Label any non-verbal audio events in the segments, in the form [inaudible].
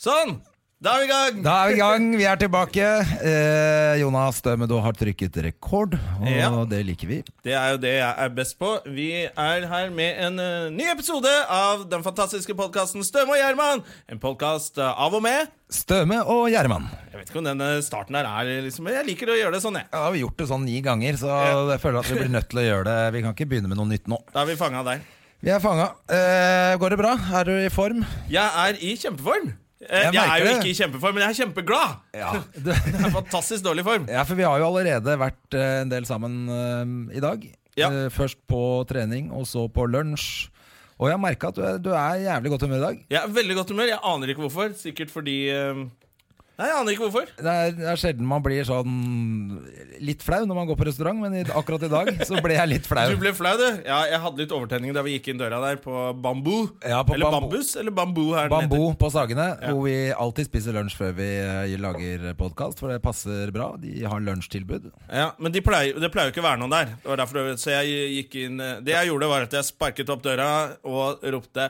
Sånn! Da er vi i gang! Da er vi i gang, vi er tilbake. Eh, Jonas Dømedo har trykket rekord, og Ja. det liker vi. Det er jo det jeg er best på. Vi er her med en eh, ny episode av den fantastiske podkasten Støme og Gjerman. En podkast av og med. Støme og Gjerman. Jeg vet ikke om denne starten her er liksom Jeg liker å gjøre det sånn, jeg. Ja, da har vi gjort det sånn ni ganger, så Ja. jeg føler at vi blir nødt til å gjøre det. Vi kan ikke begynne med noe nytt nå. Da er vi fanga der. Vi er fanga. Eh, går det bra? Er du i form? Jeg er i kjempeform. Eh, Jeg Jeg er merker jo det. ikke i kjempeform, men jeg er kjempeglad. [laughs] Ja. Det er fantastisk dårlig form. ja, for vi har jo allerede vært eh, en del sammen eh, i dag. Ja. Eh, først på trening, og så på lunsj. Og jeg har merka at du er, du er i jævlig godt humør i dag. Jeg er i veldig godt humør. Jeg aner ikke hvorfor. Sikkert fordi eh, Nei, jeg aner ikke hvorfor. Det er, det er sjelden man blir sånn litt flau når man går på restaurant, men i, akkurat i dag så ble jeg litt flau. Du ble flau, du. Ja, jeg hadde litt overtenning da vi gikk inn døra der, på Bambu. Ja, på eller Bambu. Bambus, eller Bambu her den heter. Bambo på Sagene, hvor vi alltid spiser lunsj før vi eh, lager podkast, for det passer bra. De har lunsjtilbud. Ja, men de pleier, det pleier jo ikke å være noen der. Det var derfor, det- så jeg gikk inn eh, Det jeg gjorde, var at jeg sparket opp døra og ropte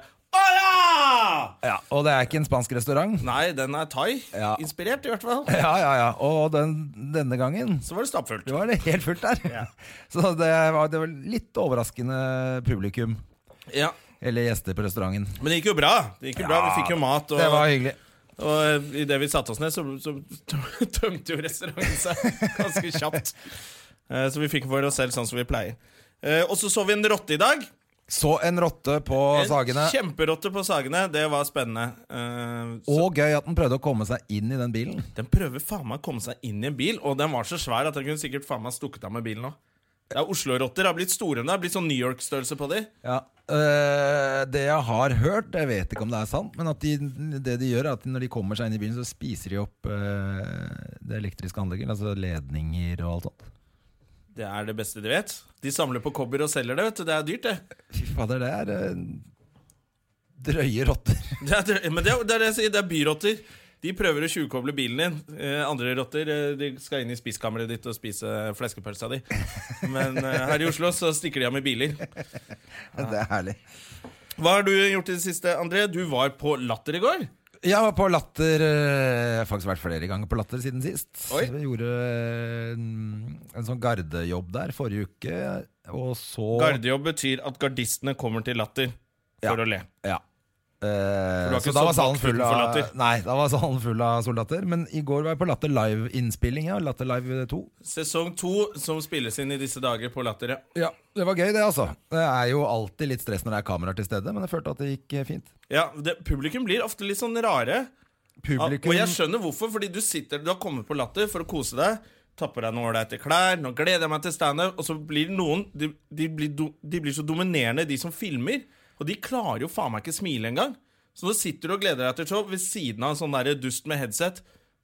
Hola! Ja, og det er ikke en spansk restaurant. [laughs] Nei, den er Ja. thai-inspirert, i hvert [laughs] fall. Ja, ja, ja. Og den, denne gangen Så var det stappfullt. det var det helt fullt der. Ja. [laughs] Så det var, det var litt overraskende publikum, Ja. eller gjester på restauranten. Men det gikk jo bra. Det gikk jo bra, Vi fikk jo mat. Og, Det var hyggelig. Og idet vi satte oss ned, så, så [laughs] tø- tømte jo restauranten seg ganske kjapt. Eh, Så vi fikk for oss selv sånn som vi pleier. Eh, Og så så vi en rotte i dag. Så en rotte på En Sagene. kjemperotte på Sagene. Det var spennende. Eh, så- Og gøy at den prøvde å komme seg inn i den bilen. Den prøver faen meg å komme seg inn i en bil, og den var så svær at den kunne sikkert faen meg stukket av med bilen òg. Ja, Oslo-rotter har blitt store nå. Det har blitt sånn New York-størrelse på de. Ja, øh, Det jeg har hørt, jeg vet ikke om det er sant, men at de, det de gjør er at når de kommer seg inn i bilen, så spiser de opp øh, det elektriske anlegget. Altså ledninger og alt sånt. Det er det beste de vet. De samler på kobber og selger det, vet du. Det er dyrt, det. Fy fader, det er øh, drøye rotter. [laughs] Det er, dr- men det er, det er det jeg sier, det er byrotter. De prøver å tjuvkoble bilen din. Eh, andre rotter eh, de skal inn i spiskammeret ditt og spise fleskepølsa di. Men eh, her i Oslo så stikker de av med biler. Det er herlig. Hva har du gjort i det siste, André? Du var på Latter i går. Jeg var på Latter øh, Jeg har faktisk vært flere ganger på Latter siden sist. Oi. Vi gjorde øh, en, en sånn gardejobb der forrige uke, og så Gardejobb betyr at gardistene kommer til Latter for å le. du Ja. har Eh, ikke så da stått var salen bak full utenfor av Latter? Nei, da var salen full av soldater. Men i går var jeg på Latter Live-innspilling. Ja, Latter Live 2. Sesong to, som spilles inn i disse dager på Latter. ja. Ja, Det var gøy, det, altså. Det er jo alltid litt stress når det er kameraer til stede, men jeg følte at det gikk eh, fint. Ja, det, Publikum blir ofte litt sånn rare. Ja, Ah, Publikum og jeg skjønner hvorfor, fordi du sitter Du har kommet på Latter for å kose deg. Tapper deg noen ålreite klær. Nå gleder jeg meg til standup. Og så blir noen de, de, blir do, de blir så dominerende, de som filmer. Og de klarer jo faen meg ikke smile engang. Så nå sitter du og gleder deg til show ved siden av en sånn der dust med headset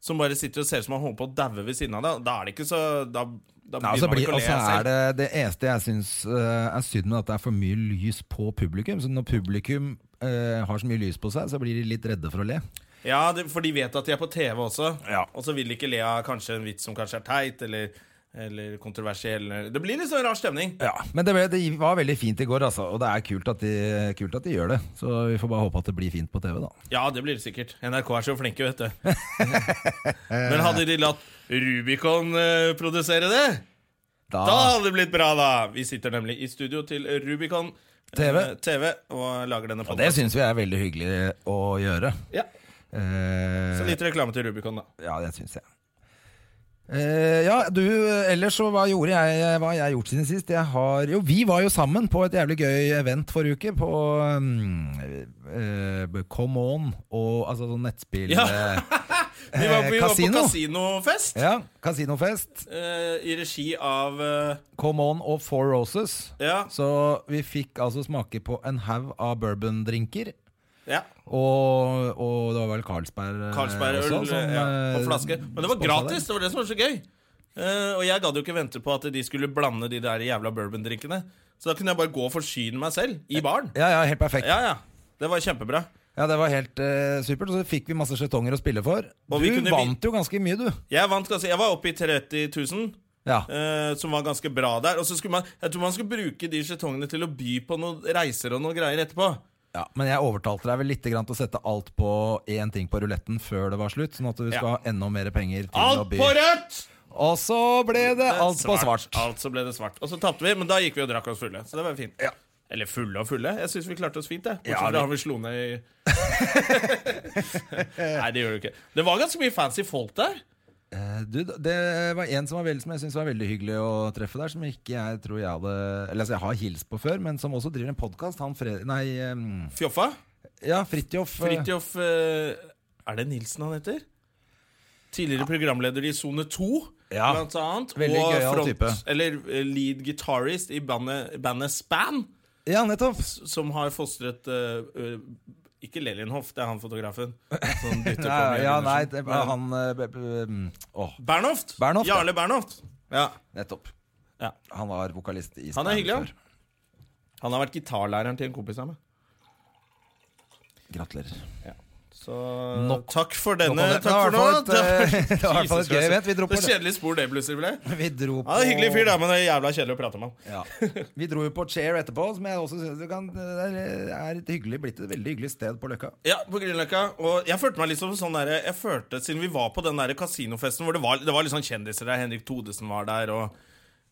som bare sitter og ser ut som han holder på å daue ved siden av deg. Da er det ikke så Da, da Nei, begynner man altså, blir, ikke å le altså av er selv. det, det eneste jeg syns eh, er synd med at det er for mye lys på publikum. Så når publikum eh, har så mye lys på seg, så blir de litt redde for å le. Ja, det, for de vet at de er på TV også. Ja. Og så vil de ikke le av kanskje en vits som kanskje er teit, eller, eller kontroversiell. eller- Det blir litt sånn rar stemning. Men det, ble, det var veldig fint i går, altså. Og det er kult at, de, kult at de gjør det. Så vi får bare håpe at det blir fint på TV, da. Ja, det blir det sikkert. NRK er så flinke, vet [laughs] du. Men hadde de latt Rubicon eh, produsere det, da hadde det blitt bra, da! Vi sitter nemlig i studio til Rubicon eh, TV. TV og lager denne Og det podcasten. syns vi er veldig hyggelig å gjøre. Ja. Så Eh, litt reklame til Rubicon, da. ja, det syns jeg. Eh, ja, du, ellers så hva gjorde jeg Hva har jeg gjort siden sist? Jeg har, jo, vi var jo sammen på et jævlig gøy event forrige uke. På mm, eh, Come On og altså sånn nettspill Ja. eh, [laughs] Vi var, Eh, vi var på kasino. kasinofest ja, kasinofest. eh, i regi av eh, Come On og Four Roses. Ja. Så vi fikk altså smake på en haug av bourbondrinker. ja. Og, og det var vel Carlsberg, eh, Carlsberg-øl også, som, ja, på eh, flaske. Men det var sponset gratis! Det var det som var så gøy. Eh, og jeg gadd jo ikke vente på at de skulle blande de der jævla bourbondrinkene. Så da kunne jeg bare gå og forsyne meg selv i baren. Ja, ja, helt perfekt. Ja, Ja, ja. Det var kjempebra. det var helt eh, supert. Og så fikk vi masse skjetonger å spille for. Og du vi kunne vant jo ganske mye, du. Jeg vant ganske, jeg var oppe i 30 000, Ja. eh, som var ganske bra der. Og så skulle man Jeg tror man skulle bruke de skjetongene til å by på noen reiser og noen greier etterpå. Ja, men jeg overtalte deg vel litt grann til å sette alt på én ting på ruletten før det var slutt, sånn at du skal Ja. ha enda mer penger til å Alt by. på rødt! Og så ble det alt på svart. Alt så ble det svart. Og så tapte vi, men da gikk vi og drakk oss fulle. Så det var fint. Ja. Eller fulle og fulle. Jeg syns vi klarte oss fint. det Bortsett Ja, fra vi- da vi slo ned i [laughs] Nei, det gjør du ikke. Det var ganske mye fancy folk der. Eh, Du, det var en som, var veldig, som jeg syntes var veldig hyggelig å treffe der, som ikke jeg tror jeg hadde Eller altså, jeg har hilst på før, men som også driver en podkast. Han Fred... Nei, eh, Fjoffa. ja, Fridtjof. eh, Fridtjof eh, Er det Nilsen han heter? Tidligere programleder i Sone 2, Ja. blant annet. Veldig og gøyal front, type. Eller eh, lead guitarist i bandet, bandet Span, Ja, nettopp. s- som har fostret eh, eh, Ikke Lelienhoff, det er han [laughs] fotografen. Som dytter på Ja, mye ja, undersøk. nei, det var Men- han eh, b- b- mm, Åh, Bernhoft. Bernhoft, ja. Jarle Bernhoft. Ja. nettopp. Ja. Han var vokalist i Han er Span hyggelig, han. før. Han har vært gitarlæreren til en kompis av meg. Gratulerer. Så eh, Nok- takk for Nå denne. kom det. Det Takk for var i nå. hvert fall [laughs] et, eh, [laughs] det var i hvert fall Jesus et gøy Christ. event. Vi dro på Det er kjedelig spor, det plutselig ble. Vi dro på Han er en hyggelig fyr, da, men det er jævla kjedelig å prate med han. Ja. Vi dro jo på Chair etterpå, som jeg også synes du kan, det er- er et hyggelig, blitt et veldig hyggelig sted på Løkka. Ja, på Grünerløkka. Og jeg følte meg litt som sånn derre Jeg følte, Siden vi var på den der kasinofesten hvor det var, det var litt sånn kjendiser der, Henrik Thodesen var der, og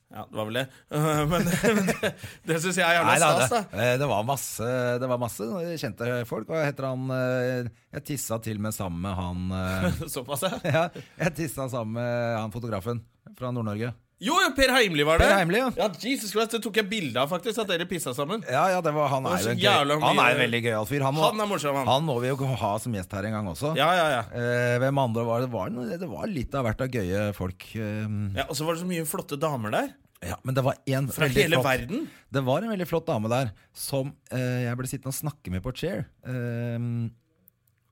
Ja, det var vel det. [laughs] Men, men det, det syns jeg er jævla Neida, stas, da. det, eh, det var masse Det var masse kjente folk. Hva heter han eh, Jeg tissa til med sammen med han eh, [laughs] Såpass, ja. [laughs] Ja, jeg tissa sammen med han fotografen fra Nord-Norge. Jo, jo, Per Heimli var det. Per Heimli, ja. ja Jesus Christ, Det tok jeg bilde av, faktisk. At dere pissa sammen. Ja, ja, det var, han, er så jo en jævla gøy, han er en mye- veldig gøyal fyr. Han, må- Han er morsom, han. han må vi jo ha som gjest her en gang også. Ja, ja, ja. Eh, hvem andre var det? Det var, noe- det var litt av hvert av gøye folk. eh, Ja, Og så var det så mye flotte damer der. Ja, men det var en Fra veldig hele flott, verden? Det var en veldig flott dame der som eh, jeg ble sittende og snakke med på chair. Ehm,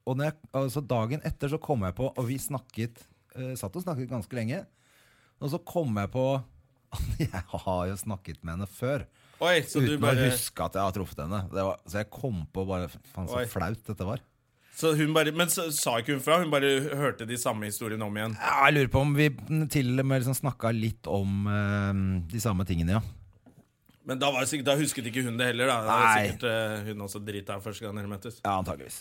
og når jeg, altså dagen etter så kom jeg på, og vi snakket eh, satt og snakket ganske lenge, og så kom jeg på [laughs] at jeg har jo snakket med henne før. Oi, så du uten å bare huske at jeg har truffet henne. Det var, så jeg kom på bare Faen, så Oi. flaut dette var. Så hun bare, men så, sa ikke hun fra? Hun bare hørte de samme historiene om igjen? Ja, jeg lurer på om vi til og med liksom snakka litt om eh, de samme tingene, ja. Men da, var det sikkert, da husket ikke hun det heller, da. da var Nei. sikkert eh, hun også drita første gang dere møttes. Ja, antageligvis.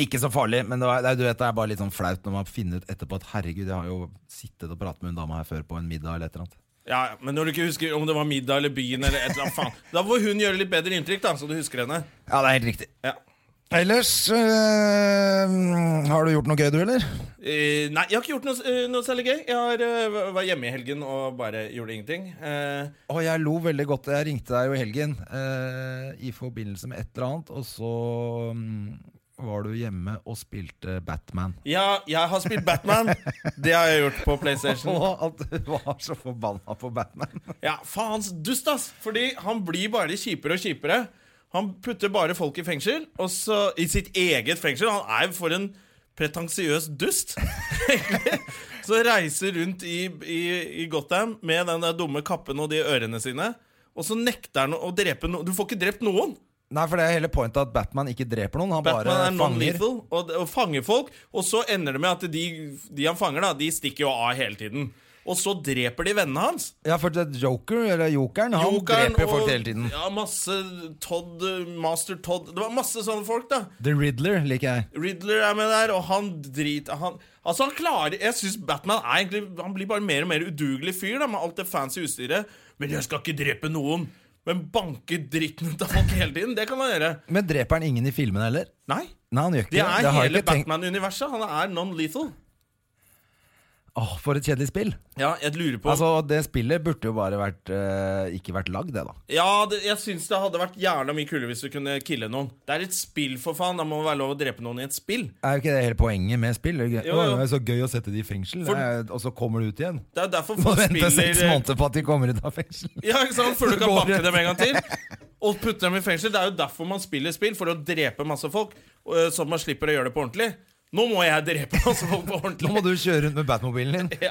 Ikke så farlig, men det, var, det, er- du vet, det er bare litt sånn flaut når man finner ut etterpå at herregud, jeg har jo sittet og pratet med hun dama her før på en middag eller et eller annet. Ja, ja, Men når du ikke husker om det var middag eller byen eller et eller annet, faen. Da får hun gjøre litt bedre inntrykk, da, så du husker henne. Ja, det er helt riktig. Ja. Ellers øh, Har du gjort noe gøy, du, eller? Eh, nei, jeg har ikke gjort noe, s- eh, noe særlig gøy. Jeg har, eh, var hjemme i helgen og bare gjorde ingenting. Eh, Å, jeg lo veldig godt. Jeg ringte deg jo i helgen eh, i forbindelse med et eller annet, og så mm, var du hjemme og spilte Batman. ja, jeg har spilt Batman. Det har jeg gjort på PlayStation. Og at du [laughs] var så forbanna på Batman. [laughs] Ja, faens dust, ass! Fordi han blir bare kjipere og kjipere. Han putter bare folk i fengsel, og så i sitt eget fengsel. Han er jo for en pretensiøs dust, [laughs] egentlig. Så reiser rundt i, i, i Gotham med den der dumme kappen og de ørene sine. Og så nekter han å drepe noen. Du får ikke drept noen! Nei, for det er hele pointet at Batman ikke dreper noen. Han Batman bare er fanger. non-lethal og, og fanger folk. Og så ender det med at de, de han fanger, da, de stikker jo av hele tiden. Og så dreper de vennene hans. Ja, for det- Joker, eller Jokeren, han Jokeren dreper jo folk og- hele tiden. Ja, masse Todd, Master Todd Det var masse sånne folk, da. The Riddler liker jeg. Riddler er med der, og han driter han, Altså, han klarer Jeg syns Batman er egentlig Han blir bare mer og mer udugelig fyr, da, med alt det fancy utstyret. Men jeg skal ikke drepe noen. Men banke dritten ut av folk hele tiden, det kan han gjøre. Men dreper han ingen i filmene heller? Nei. Nei, han gjør ikke Det det. er har jeg hele ikke tenkt- Batman-universet. Han er non-lethal. Åh, for et kjedelig spill. Ja, jeg lurer på Altså, Det spillet burde jo bare vært eh, ikke vært lagd, det, da. Ja, det, jeg syns det hadde vært jævla mye kulere hvis du kunne kille noen. Det er et spill, for faen. Da må det være lov å drepe noen i et spill. Er jo ikke det hele poenget med spill? Det er gøy- Jo, jo. Åh, Det er så gøy å sette de i fengsel, For- det er- og så kommer du ut igjen. Det er jo derfor Må folk vente seks spiller måneder på at de kommer ut av fengsel. Ja, ikke sant? Før du kan Går banke rett. dem en gang til. Og putte dem i fengsel. Det er jo derfor man spiller spill, for å drepe masse folk. øh, Sånn at man slipper å gjøre det på ordentlig. Nå må jeg drepe masse folk på Nå ordentlig. må du kjøre rundt med Batmobilen din. [laughs] Ja.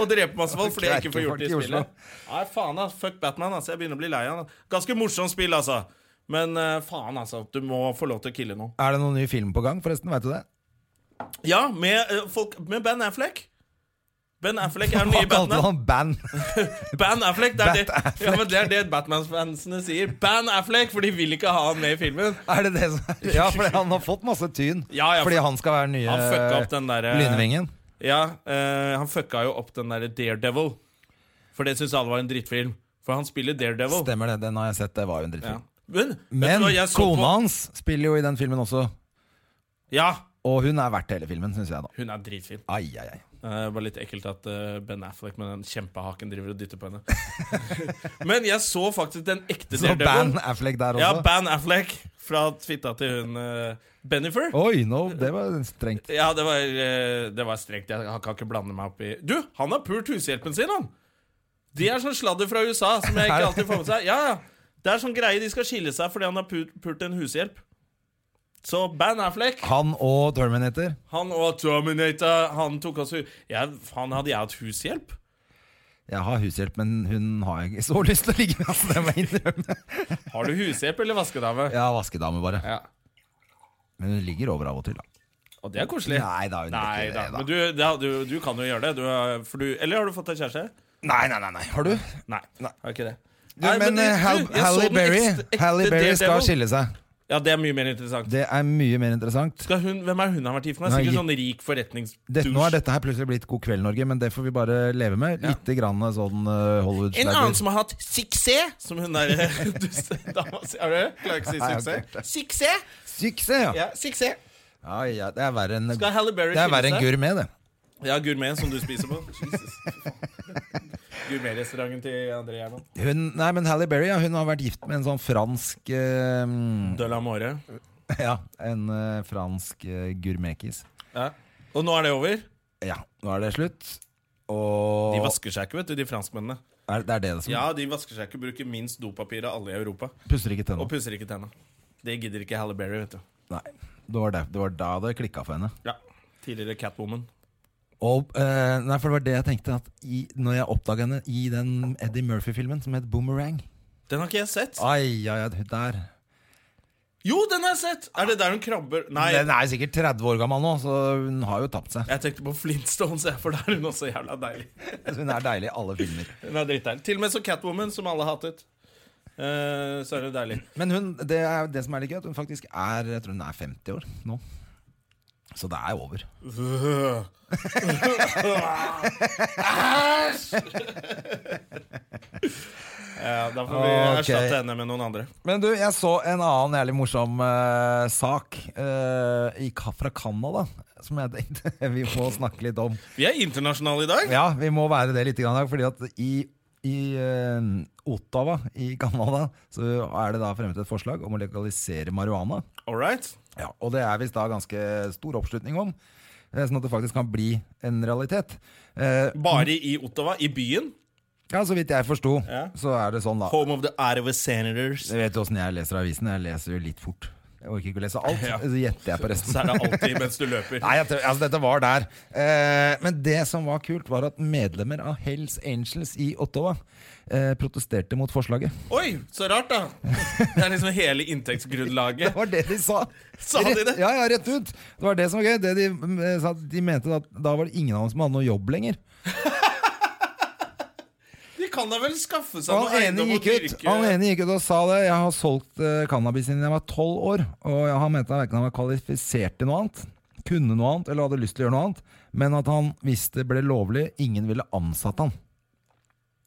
Og drepe masse folk fordi jeg ikke får gjort det i Kverkefolk i Oslo. spillet. Nei, faen, ass. Fuck Batman, altså. Jeg begynner å bli lei av det. Ganske morsomt spill, altså. Men øh, faen, altså. Du må få lov til å kille noen. Er det noen ny film på gang, forresten? Vet du det? eh, Ja, med, øh, folk, med Ben Affleck. Ben Affleck er den Hva nye kalte Batman. han band? Ban Affleck, det er det, Bat ja, men det er det Batman-fansene sier. Ban Affleck, for de vil ikke ha han med i filmen. Er det det som [laughs] er? Ja, fordi han har fått masse tyn. Ja, ja, fordi eh, han skal være den nye Han fucka opp den derre Lynvingen. Ja, eh, han fucka jo opp den derre Daredevil. For det syns alle var en drittfilm. For han spiller Daredevil. Stemmer det. Den har jeg sett. Det var jo en drittfilm. Ja. Men, vet du Men hva, jeg så på- kona hans spiller jo i den filmen også. Ja, Og hun er verdt hele filmen, syns jeg, da. hun er dritfin. Ai, ai, ai. Det var litt ekkelt at eh, Ben Affleck med den kjempehaken driver og dytter på henne. [laughs] Men jeg så faktisk den ekte Så Ban Daredevil. Affleck der Ja, også. Ban Affleck fra fitta til hun eh, Bennifer. Oi, no, det var strengt. Ja, det var, eh, det var strengt. Jeg kan ikke blande meg opp i Du, han har pult hushjelpen sin, han! De er sånn sladder fra USA som jeg ikke alltid får med seg. Ja, ja. Det er sånn greie de skal skille seg fordi han har pult, pult en hushjelp. Så Ban Affleck, Han og Terminator. han og Terminator, han tok også ja, Faen, hadde jeg hatt hushjelp? Jeg har hushjelp, men hun har jeg ikke så lyst til å ligge med. Altså, det må jeg innrømme. Har du hushjelp eller vaskedame? Ja, vaskedame, bare. Ja. Men hun ligger over av og til, da. Og det er koselig. Nei da, hun gjør Nei da. ikke det, da. Men du, det, du, du kan jo gjøre det. Du, har- for du, eller har du fått deg kjæreste? Nei, nei, nei. nei. Har du? Nei. Nei. Har ikke det. Du, Nei, men det- eh, Hal du, jeg så Halle den Berry, ekte- ekte Halle Berry skal Daredevil. skille seg. Ja, det er mye mer interessant. Det er mye mer interessant. Skal hun, hvem er hun har vært gift med? Nei, Sikkert gi- sånn rik Det, nå er forretningsdusj. dette her plutselig blitt God kveld, Norge, men det får vi bare leve med. Litt grann sånn En eh, annen Hollywood-slagger. som har hatt suksess, som hun der [laughs] dustedama sier. Har du hørt? Klarer ikke å si Nei, jeg har ikke suksess. Suksess! Suksess, ja. Ja, suksess. Ja, ja! Det er verre enn Skal Halle Berry Det er verre skille enn seg? gourmet, det. Ja, gourmet som du spiser på. Jesus. Gourmetrestauranten til André Gjerman. Hun, nei, men Halle Berry ja, hun har vært gift med en sånn fransk eh, mm, De la More. Ja, en eh, fransk eh, gourmetkis. Ja. Og nå er det over. Ja, nå er det slutt. De Og vasker seg ikke, vet du, de franskmennene. er, Det er det som Ja, de vasker seg ikke, bruker minst dopapir av alle i Europa. Puster ikke Og tenna. pusser ikke tenna. Det gidder ikke Halle Berry, vet du. Nei. Det var, det. det var da det klikka for henne. Ja. Tidligere Catwoman. Og, eh, nei, for det var det jeg tenkte at i, Når jeg oppdaga henne i den Eddie Murphy-filmen som het Boomerang Den har ikke jeg sett. Ai, ai, ai, hun der Jo, den har jeg sett! Er det der hun krabber Nei, Den er sikkert 30 år gammel nå, så hun har jo tapt seg. jeg tenkte på Flintstones, jeg, for da er hun også jævla deilig. Hun er deilig i alle filmer. Hun er drittdeilig. Til og med så Catwoman, som alle hatet. Eh, så er hun deilig. Men hun, det, er, det som er litt gøy, at hun faktisk er Jeg tror hun er 50 år nå. Så det er over. Ja, da får vi Ok. erstatte henne med noen andre. Men du, jeg så en annen jævlig morsom eh, sak eh, i, Ka- fra Canada som jeg tenkte [laughs] vi må snakke litt om. Vi er internasjonale i dag. Ja, vi må være det litt, grann, i dag, fordi at i, i eh, Ottawa i Canada så er det da fremmet et forslag om å legalisere marihuana. All right. Ja, og det er visst da ganske stor oppslutning om, eh, sånn at det faktisk kan bli en realitet. Eh, Bare i Ottawa, i byen. ja, så vidt jeg forsto, Ja. så er det sånn, da. Home of the Iowa Senators. Du vet jo åssen jeg leser avisen. Jeg leser jo litt fort. Jeg orker ikke å lese alt. [laughs] Ja. Så gjetter jeg på resten. Så er det alltid mens du løper. Nei, jeg tror, altså dette var der. Eh, men det som var kult, var at medlemmer av Hells Angels i Ottawa eh, protesterte mot forslaget. Oi, så rart, da! Det er liksom hele inntektsgrunnlaget. Det var det de sa. Sa de det? Rett- Ja, ja, rett ut. Det var det som var gøy. Det de, eh, sa, de mente at da var det ingen av dem som hadde noe jobb lenger. De kan da vel skaffe seg Og noe han ene eiendom og gikk ut dyrke Han ene gikk ut og sa det. Jeg har solgt eh, cannabis siden jeg var tolv år, og jeg- han mente verken han var kvalifisert til noe annet, kunne noe annet eller hadde lyst til å gjøre noe annet, men at han, hvis det ble lovlig, ingen ville ansatt han.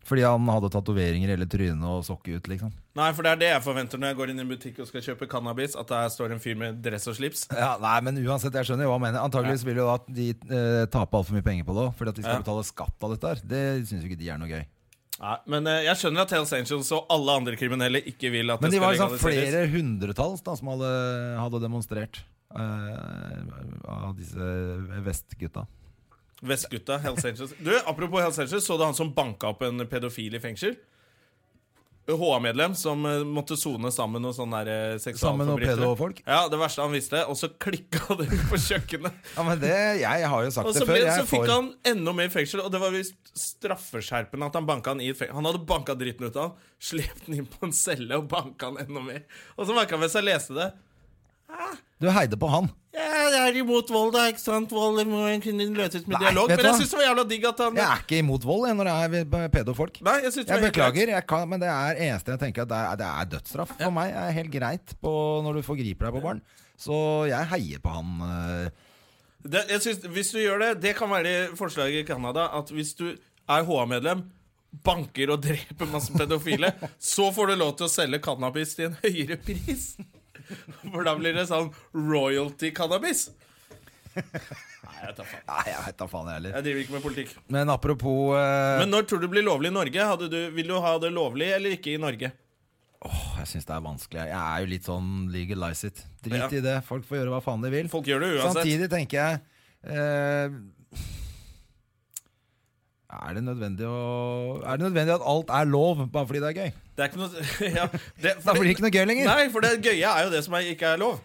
Fordi han hadde tatoveringer i hele trynet og sokket ut, liksom. Nei, for det er det jeg forventer når jeg går inn i en butikk og skal kjøpe cannabis, at der står en fyr med dress og slips. Ja, nei, men uansett, jeg skjønner jo hva han mener. Antakeligvis vil jo da de eh, tape altfor mye penger på det òg, fordi at de skal Ja. betale skatt av dette her. Det syns jo ikke de er noe gøy. Nei, men eh, jeg skjønner at Hells Angels og alle andre kriminelle ikke vil at Men det de skal var liksom legaliseres. flere hundretalls da, som hadde, hadde demonstrert eh, av disse vestgutta. Vestgutta, Hells Angels. Du, apropos Hells Angels, så du han som banka opp en pedofil i fengsel? HA-medlem som eh, måtte sone sammen og sånn der eh, Sammen med seksualforbrytere. pedofolk. Ja, det verste han visste, og så klikka [laughs] det på kjøkkenet. Ja, men det, jeg har jo sagt Og det så, før. ble, Jeg så er fikk for- han enda mer fengsel, og det var visst straffeskjerpende at han banka han i et fengsel. Han hadde banka dritten ut av han, slept han inn på en celle og banka han enda mer. Og så merka han hvis jeg leste det Du heide på han. Ja, det er imot vold, da. ikke sant? Vold det må kunne løses med Nei, dialog. vet du Men jeg hva? syns det var jævla digg at han Jeg er ikke imot vold jeg, når det er pedofolk. Nei, jeg synes det var helt Jeg greit. beklager, jeg kan, men det er eneste jeg tenker at det er, det er dødsstraff. For meg er det helt greit på når du forgriper deg på barn. Så jeg heier på han. eh. Det, jeg synes, hvis du gjør det, det kan være forslaget i Canada, at hvis du er HA-medlem, banker og dreper masse pedofile, så får du lov til å selge cannabis til en høyere pris. For da blir det sånn royalty-cannabis. Nei, jeg tar faen. Nei, jeg vet da faen, jeg heller. Jeg driver ikke med politikk. Men apropos eh, Men når tror du det blir lovlig i Norge? Hadde du, vil du ha det lovlig eller ikke i Norge? åh, Jeg syns det er vanskelig. Jeg er jo litt sånn legalize it. Drit Ja. i det. Folk får gjøre hva faen de vil. Folk gjør det uansett. Samtidig tenker jeg eh, er det, nødvendig å, er det nødvendig at alt er lov bare fordi det er gøy? Det er ikke noe [laughs] ja, det, Da blir det ikke noe gøy lenger. Nei, for det gøye er jo det som er, ikke er lov.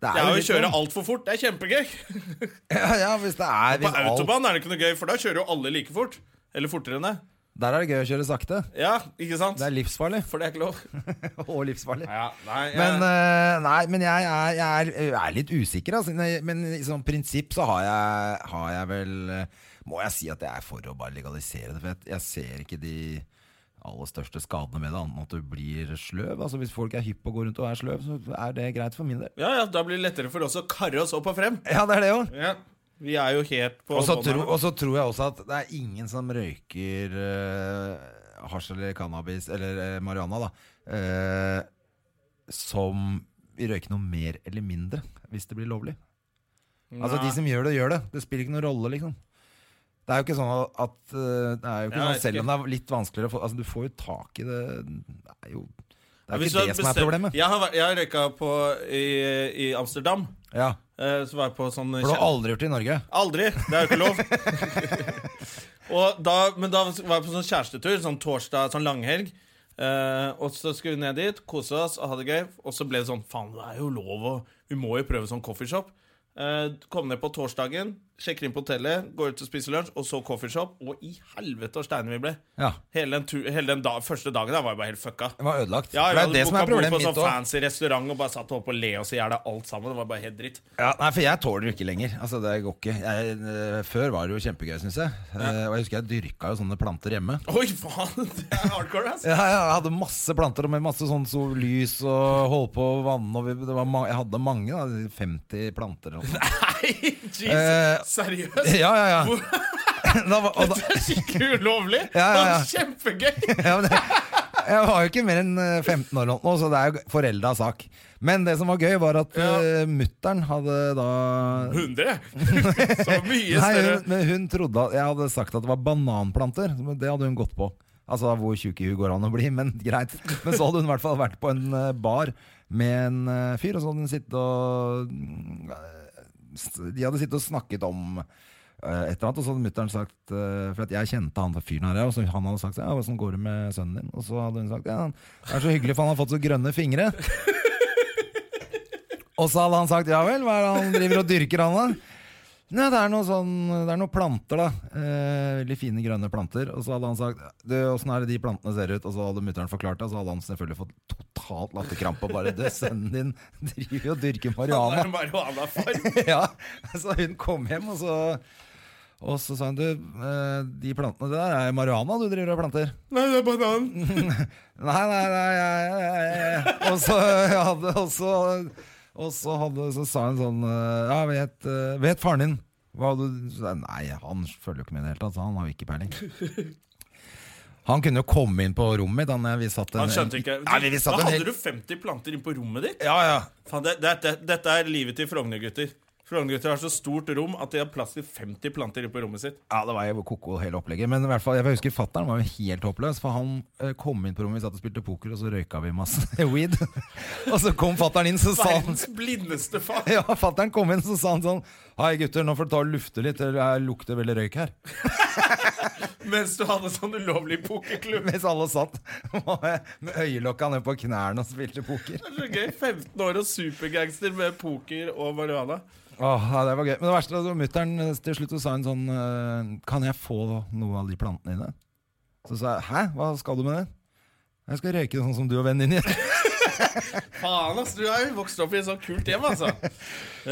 Det er jo jo å litt kjøre sånn. altfor fort. Det er kjempegøy. [laughs] ja, ja, hvis det er, På hvis alt, autobahn er det ikke noe gøy, for da kjører jo alle like fort. Eller fortere enn det. Der er det gøy å kjøre sakte. Ja, ikke sant? Det er livsfarlig. [laughs] For det er ikke lov. Og livsfarlig. Ja, nei, jeg, Men, eh, nei, men jeg, er, jeg, er, jeg er litt usikker, altså. Nei, Men i sånn prinsipp så har jeg, har jeg vel eh, Må jeg si at jeg er for å bare legalisere det. For jeg, jeg ser ikke de aller største skadene med det, annet enn at du blir sløv. Altså Hvis folk er hypp og går rundt og er sløv, så er det greit for min del. ja, ja, da blir det lettere for oss å karre oss opp og frem. Ja, det er det jo. Ja. Vi er jo helt på Og så bånn tro, her. og så tror jeg også at det er ingen som røyker uh, hasj eller cannabis, eller eh, marihuana, da, eh, som vil røyke noe mer eller mindre hvis det blir lovlig. Nei. Altså De som gjør det, gjør det. Det spiller ikke noen rolle, liksom. Det er jo ikke sånn at eh, det er jo ikke Jeg vet sånn, Selv ikke. om det er litt vanskeligere å få Altså, du får jo tak i det Det er jo, det er jo Hvis du ikke det som er bestemt- problemet. Jeg har, vært- jeg har røyka på i, i Amsterdam. Ja, Eh, Så var jeg på sånn For du har aldri gjort det i Norge? Aldri. Det er jo ikke lov. [laughs] og da, men da var jeg på sånn kjærestetur, sånn torsdag, sånn langhelg. Eh, og så skulle vi ned dit, kose oss og ha det gøy. Og så ble det sånn Faen, det er jo lov, og vi må jo prøve sånn coffeeshop. Eh, kom ned på torsdagen, sjekker inn på hotellet, går ut og spiser lunsj, og så coffeeshop. Og i helvete og steine vi ble. Ja. Hele den, tu hele den da, første dagen der var jeg bare helt fucka. Det var ødelagt. Ja, det vi er hadde det som booka er bord problemet på mitt sånn også. fancy restaurant og bare satt og holdt på å le oss i hjel av alt sammen. Det var bare helt dritt. Ja, nei, for jeg tåler jo ikke lenger. Altså, det går ikke. Jeg, eh, før var det jo kjempegøy, syns jeg. Eh, og jeg husker jeg dyrka jo sånne planter hjemme. Oi, faen! Det er hardcore, ass. Ja, ja, jeg hadde masse planter og med masse sånn sollys og holdt på å vanne. Og vi, det var ma jeg hadde mange, da. 50 planter eller noe. sånt. Nei, Jesus, Eh, seriøst? [laughs] Ja, ja, ja. [laughs] Da, var- og da, [laughs] Det er skikkelig ulovlig! [laughs] Ja, ja, ja. Det er [laughs] kjempegøy! ja, men det, jeg var jo ikke mer enn eh, 15 år eller noe, så det er jo forelda sak. Men det som var gøy, var at Ja. uh, mutter'n hadde da 100? [laughs] Så mye Nei, større. hun, men hun trodde at jeg hadde sagt at det var bananplanter. men Det hadde hun gått på. Altså hvor tjukk i huet går an å bli, men [laughs] greit. Men så hadde hun i hvert fall vært på en eh, bar med en eh, fyr, og så hadde hun sittet og mm, eh, s- De hadde sittet og snakket om eh, et eller annet, og så hadde mutter'n sagt eh, For at jeg kjente han fyren her, og så han hadde sagt ja, 'Åssen går det med sønnen din?' Og så hadde hun sagt ja, 'Det er så hyggelig, for han har fått så grønne fingre'. Og så hadde han sagt ja vel, hva er det han driver og dyrker han da? Nei, det er noen sånn, det er noen planter da eh, Veldig fine grønne planter Og så hadde han sagt, du, hvordan er det de plantene ser ut? Og så hadde mutteren forklart det Og så hadde han selvfølgelig fått totalt latterkramp Og bare, du, sønnen din driver og dyrker Han [laughs] er marihuana en [laughs] marihuanafarm. ja, så hun kom hjem, og så og så sa hun du, eh, de plantene det der er marihuana du driver og planter. Nei, det er banan. Nei, nei, nei, nei, nei, nei. Og så hadde Og så, og så, hadde, så sa hun sånn eh, Ja, vet, eh, vet faren din hva du så sa jeg, Nei, han følger jo ikke med i det hele tatt. så Han har jo ikke peiling. Han kunne jo komme inn på rommet mitt. Han, eh, vi satt en, Han skjønte ikke. Nei, vi, vi Da satt en hadde hel du 50 planter inn på rommet ditt. Ja, ja. Faen, det, det, det, dette er livet til Frogner-gutter. Frogner-gutter har så stort rom at de har plass til 50 planter inne på rommet sitt. Ja, det var jo koko hele opplegget. Men i hvert fall, jeg husker fattern var jo helt håpløs. For han eh, kom inn på rommet, vi satt og spilte poker, og så røyka vi masse [laughs] weed. og så kom fattern inn, så sa han Verdens blindeste far. [laughs] Ja, fatteren kom inn så sa han sånn Hei gutter, nå får du ta og lufte litt Det lukter veldig røyk her [laughs] Mens du hadde sånn ulovlig pokerklubb. Mens alle satt [laughs] med øyelokka ned på knærne og spilte poker Det er så gøy. 15 år og supergangster med poker og marihuana. Åh, ja, det var gøy Men det verste var at mutteren eh, til slutt så sa hun sånn eh, Kan jeg få noe av de plantene dine? Så sa jeg, hæ? Hva skal du med det? Jeg skal røyke sånn som du og vennen din gjør [laughs] Faen, ass, du er jo vokst opp i et sånt kult hjem, [laughs] altså. Eh,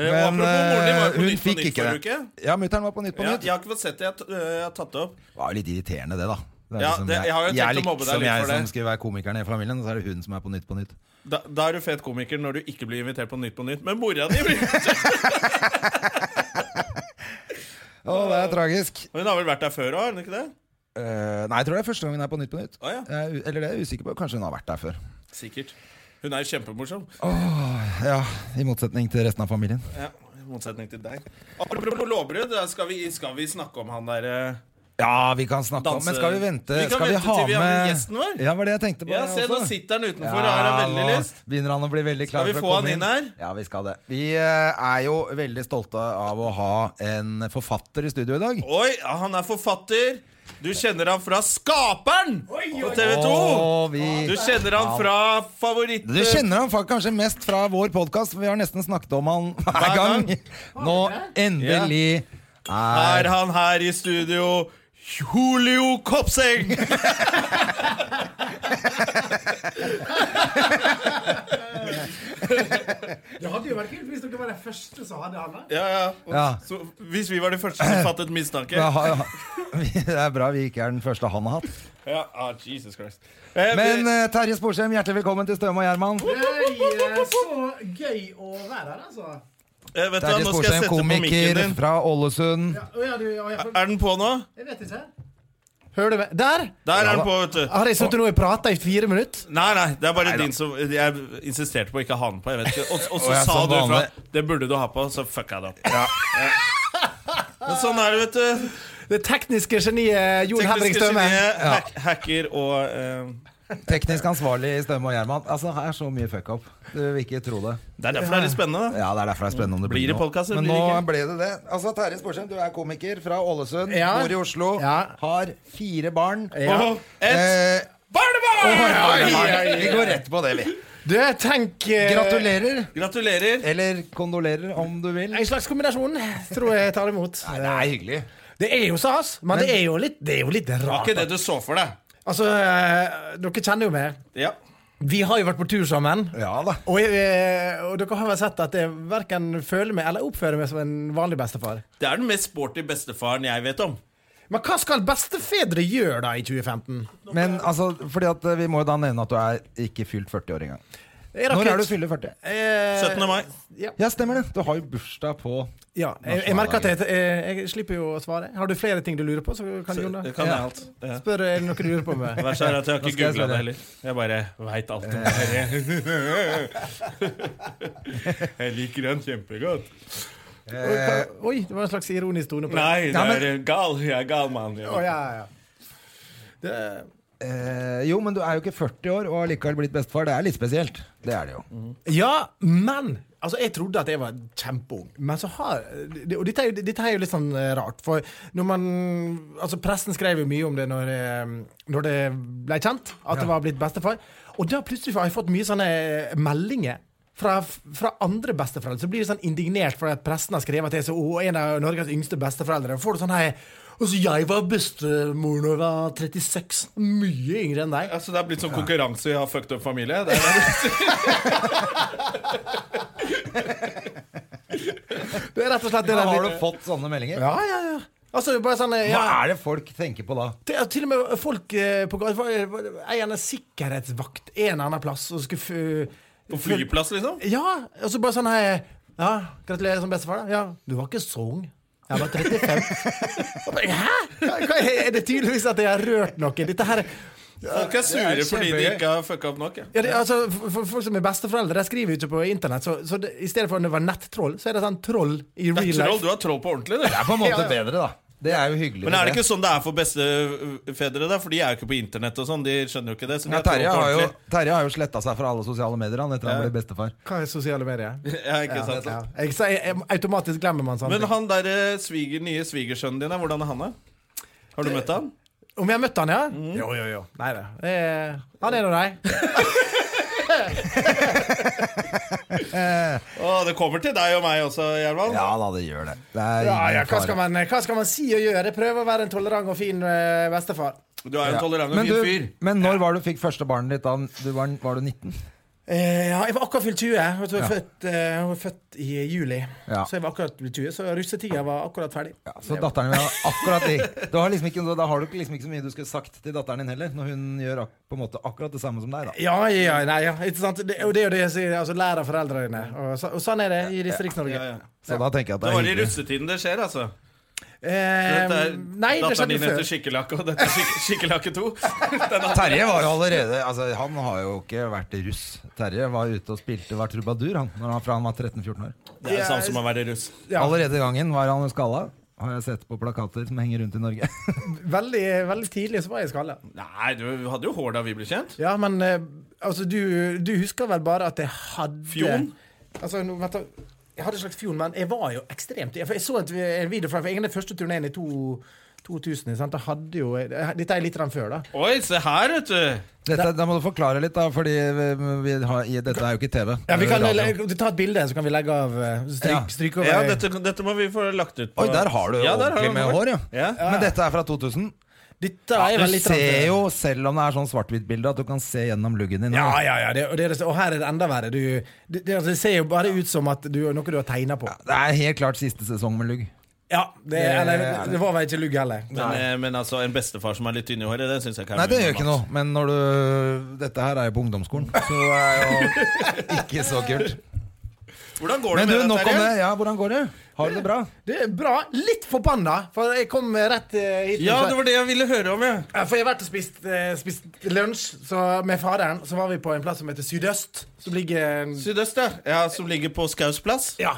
og Men apropos moren din, var eh, jo på hun Nytt på fikk Nytt ikke forrige det. uke. Ja, mutter'n var på Nytt på Ja, Nytt. jeg har ikke fått sett det. Jeg, har t- eh, jeg har tatt det opp. Det var jo litt irriterende, det, da. Det er Ja, liksom det- jeg har jo tenkt å er mobbe deg liksom litt jeg for det. som skulle være komikeren i familien, og så er det hun som er på Nytt på Nytt. Da, da er du fet komiker når du ikke blir invitert på Nytt på Nytt. Men mora di blir [laughs] Å, det er tragisk. Hun har vel vært der før òg, har hun ikke det? Eh, nei, jeg tror det er første gang hun er på Nytt på Nytt. Å, ja. Jeg er u- eller det er jeg usikker på. Kanskje hun har vært der før. Sikkert. Hun er jo kjempemorsom. Ja, I motsetning til resten av familien. Ja, I motsetning til deg. Apropos lovbrudd, da skal vi, skal vi snakke om han eh, derre Ja, vi kan snakke om Danse- Men skal vi vente? Vi kan skal vente ha til vi har med med gjesten vår. Ja, var det jeg tenkte på. Ja, altså. jeg se, nå også. sitter han utenfor. Her har veldig nå lyst. Begynner han å bli veldig klar Skal vi for å få han komme inn her? Ja, vi skal det. Vi eh, er jo veldig stolte av å ha en forfatter i studio i dag. Oi, ja, han er forfatter. Du kjenner han fra Skaperen på TV 2. Å, vi... Du kjenner han fra favoritt... Du kjenner ham faktisk kanskje mest fra vår podkast, for vi har nesten snakket om han hver gang. gang. Nå endelig Er er han her i studio? Julio Kopseng! [laughs] Det hadde jo vært kult hvis dere var de første som hadde han der. Ja, ja. Og Ja. Så, hvis vi var de første som fattet mistanke Ja, ja. [laughs] Det er bra vi ikke er den første han har hatt. Ja, ah, Jesus Christ. Eh, Men vi- eh, Terje Sporsem, hjertelig velkommen til Støme og Gjerman. Nei, eh, så gøy å være her, altså. eh, vet du, hva, Terje nå skal jeg Sporsem, sette på mikken komiker din. fra Ålesund. Ja, å, ja, du, ja, jeg, Er den på nå? jeg vet ikke. Hører du meg? Der! Der Ja er da. den på, vet du. Har jeg sittet og prata i fire minutter? Nei, nei, det er bare din som Jeg insisterte på å ikke ha den på. Jeg vet ikke. Og, og så Og jeg sa som du fra vanlig. Det burde du ha på, så fucka jeg det opp. Ja. Men sånn er det, vet du. Det tekniske geniet Jon Henrik Tekniske Støme. geniet, hack- hacker og eh, Teknisk ansvarlig i Støme og Gjerman. Altså, her er så mye fuck up. Du vil ikke tro det. Det er derfor det er litt spennende. da. Ja, det er derfor det er spennende om det Blir blir det noe. podcast, eller Men nå blir det ble det det. Altså, Terje Sporsem, du er komiker fra Ålesund. Ja. Bor i Oslo. Ja. Har fire barn. Ja. Og et Eh, barnebarn! vi går rett på det, vi. Du, tenk eh, Gratulerer. Gratulerer. Eller kondolerer, om du vil. En slags kombinasjon, tror jeg jeg tar imot. Nei, det er hyggelig. Det er jo stas, men det er jo litt, det er jo litt Det var rart. ikke det du så for deg. Altså, eh, dere kjenner jo meg. Ja. Vi har jo vært på tur sammen. Ja da. Og, jeg, og dere har vel sett at jeg verken føler meg eller oppfører meg som en vanlig bestefar. Det er den mest sporty bestefaren jeg vet om. Men hva skal bestefedre gjøre da i 2015? Men altså, fordi at eh, vi må jo da nevne at du er ikke fylt 40 år engang. Jeg rakk Når er litt- du fyller 40? Eh, 17. mai. Ja, Ja, stemmer det. Du har jo bursdag på ja. Jeg, jeg merker at jeg, eh, jeg, jeg slipper jo å svare. Har du flere ting du lurer på, så kan Jon da Det kan jeg alt. Ja. Spør er det noe du lurer på med. [laughs] Verst er at jeg har Nå ikke skal jeg googla det spørre. heller. Jeg bare veit alt om det. [laughs] Jeg liker den kjempegodt. Oi, det var en slags ironisk tone på det. Nei, det Ja, men- er en gal. Jeg er gal mann. Å, ja, ja, ja. Det, eh, Jo, men du er jo ikke 40 år og har likevel blitt bestefar. Det er litt spesielt. Det er det jo. ja, men Altså, Jeg trodde at jeg var kjempeung, men så har det- Og dette er, jo, dette er jo litt sånn eh, rart, for når man Altså, pressen skrev jo mye om det når, eh, når det ble kjent at jeg var blitt bestefar, og da plutselig har jeg fått mye sånne eh, meldinger. Fra, fra andre besteforeldre Så blir de sånn indignert for at pressen har skrevet at jeg er så, «Å, en av Norges yngste besteforeldre. Og får du sånn her Altså, jeg var bestemor da jeg var 36. Mye yngre enn deg. Altså, det er blitt sånn konkurranse i å ha fucked up familie. Det er det. Det er rett og slett det Da der har du litt- fått sånne meldinger. Ja, ja, ja. Altså, det er bare sånn eh, Hva ja. er det folk tenker på da? Det er til og med folk eh, på gata En eller sikkerhetsvakt en eller annen plass og skulle f- På flyplass, liksom. Ja. Og så bare sånn her Ja, gratulerer som bestefar, da. Ja, du var ikke så ung. Jeg var [laughs] 35. Og bare, Hæ?! Hva er, er det tydeligvis at jeg har rørt noe? Dette her Folk er sure fordi de kjempegøy. ikke har fucka opp nok. Ja. ja, det, altså, for, for Folk som er besteforeldre, de skriver jo ikke på internett. Så, så det, i stedet for å være nettroll, så er det sånn troll Det i er real troll. life. Du har troll på ordentlig, du. Det er på en måte bedre, da. Det er jo hyggelig. Men er det ikke sånn det er for bestefedre? da? For de er jo ikke på internett og sånn. De skjønner jo ikke det. Så de ja, har troll Terje på har jo, ordentlig. [laughs] Terje har jo sletta seg fra alle sosiale medier han etter han ble bestefar. Hva er sosiale medier? [laughs] Ja, ikke sant? Ja. Jeg, sier- jeg, automatisk glemmer man sånne Men ting. han der eh, sviger, nye svigersønnen din, eh, hvordan er han? da? Har du møtt han? Om jeg har møtt han, ja? Mm. Jo, jo, jo. Nei da. Eh, han er nå deg. Å, det kommer til deg og meg også, Gjerman. Ja da, det gjør det. det er Ja, ingen ja, hva, fare. skal man, eh, hva skal man si og gjøre? Prøve å være en tolerant og fin eh, bestefar. Du er jo en tolerant og men, fin fyr. du, men når var du fikk første barnet ditt? da? Du var, var du 19? Eh, ja, jeg var akkurat fylt 20. Jeg var Ja. født, eh, jeg var født i juli. Ja. Så jeg var akkurat fylt 20, så russetida var akkurat ferdig. Ja, så datteren din har akkurat det. Da har, liksom ikke, noe- da har du liksom ikke så mye du skulle sagt til datteren din heller, når hun gjør ak på en måte akkurat det samme som deg. da Ja, ja, nei, ja. Ikke sant? Det, og det er jo det jeg sier. Altså, lær av foreldrene dine. Og, så, og sånn er det i Distrikts-Norge. Ja, ja. Så da tenker jeg at Det det var er i hyggelig. russetiden det skjer, altså. Eh, Dette er, nei, det datteren skjedde din før. heter Skikkelakke, og dette er skik Skikkelakke 2. Terje var jo allerede altså, Han har jo ikke vært russ. Terje var ute og spilte, var trubadur han, når han, fra han var 13-14 år. Det er det samme som å være russ. Ja. Allerede i gangen var han jo skalla. Har jeg sett på plakater som henger rundt i Norge. [laughs] Veldig, veldig tidlig så var jeg skalla. Nei, du hadde jo hår da vi ble kjent. Ja, men eh, altså, du, du husker vel bare at jeg hadde Fjon? Altså, nå, vent da. Jeg hadde en slags fjon, men jeg var jo ekstremt Jeg, for jeg så en, en video fra for jeg er den første turneen i to, 2000. Sant? Da hadde jo, jeg, eh, dette er litt grann før, da. Oi, se her, vet du. Dette, da må du forklare litt, da, fordi vi, vi har, i, dette er jo ikke TV. Ja, vi kan Radio. le- Ta et bilde, så kan vi legge av eh, stryk, Ja. stryk over Ja, dette, dette må vi få lagt ut på Oi, der har du Ja, der har ordentlig han med hår, ja. Ja. Men dette er fra 2000. Dette er Du vel litt ser jo, selv om det er sånn svart-hvitt-bilde, at du kan se gjennom luggen din. Ja, ja, ja. Det, og, det, er det- og her er det enda verre. Du, det, det, altså, det ser jo bare ut som at du, noe du har tegna på. Det er helt klart siste sesong med lugg. Ja, det, eller, det var vel ikke lugg heller. Men, eh, men altså, en bestefar som er litt tynn i håret, det syns jeg ikke er Nei, det mye gjør ikke noe, normalt. men når du Dette her er jo på ungdomsskolen, så det [laughs] er jo ikke så kult. Hvordan går det Men du, med deg, nok om det. Terje? Ja, hvordan går det? Har du det bra? Det er bra. Litt forbanna, for jeg kom eh, rett eh, hit. Ja, det var det jeg ville høre om, ja. Ja, For jeg har vært og spist, eh, spist lunsj så med faderen. Så var vi på en plass som heter Sydøst. Som ligger en- Sydøst, ja. ja. Som ligger på Skaus plass. Ja,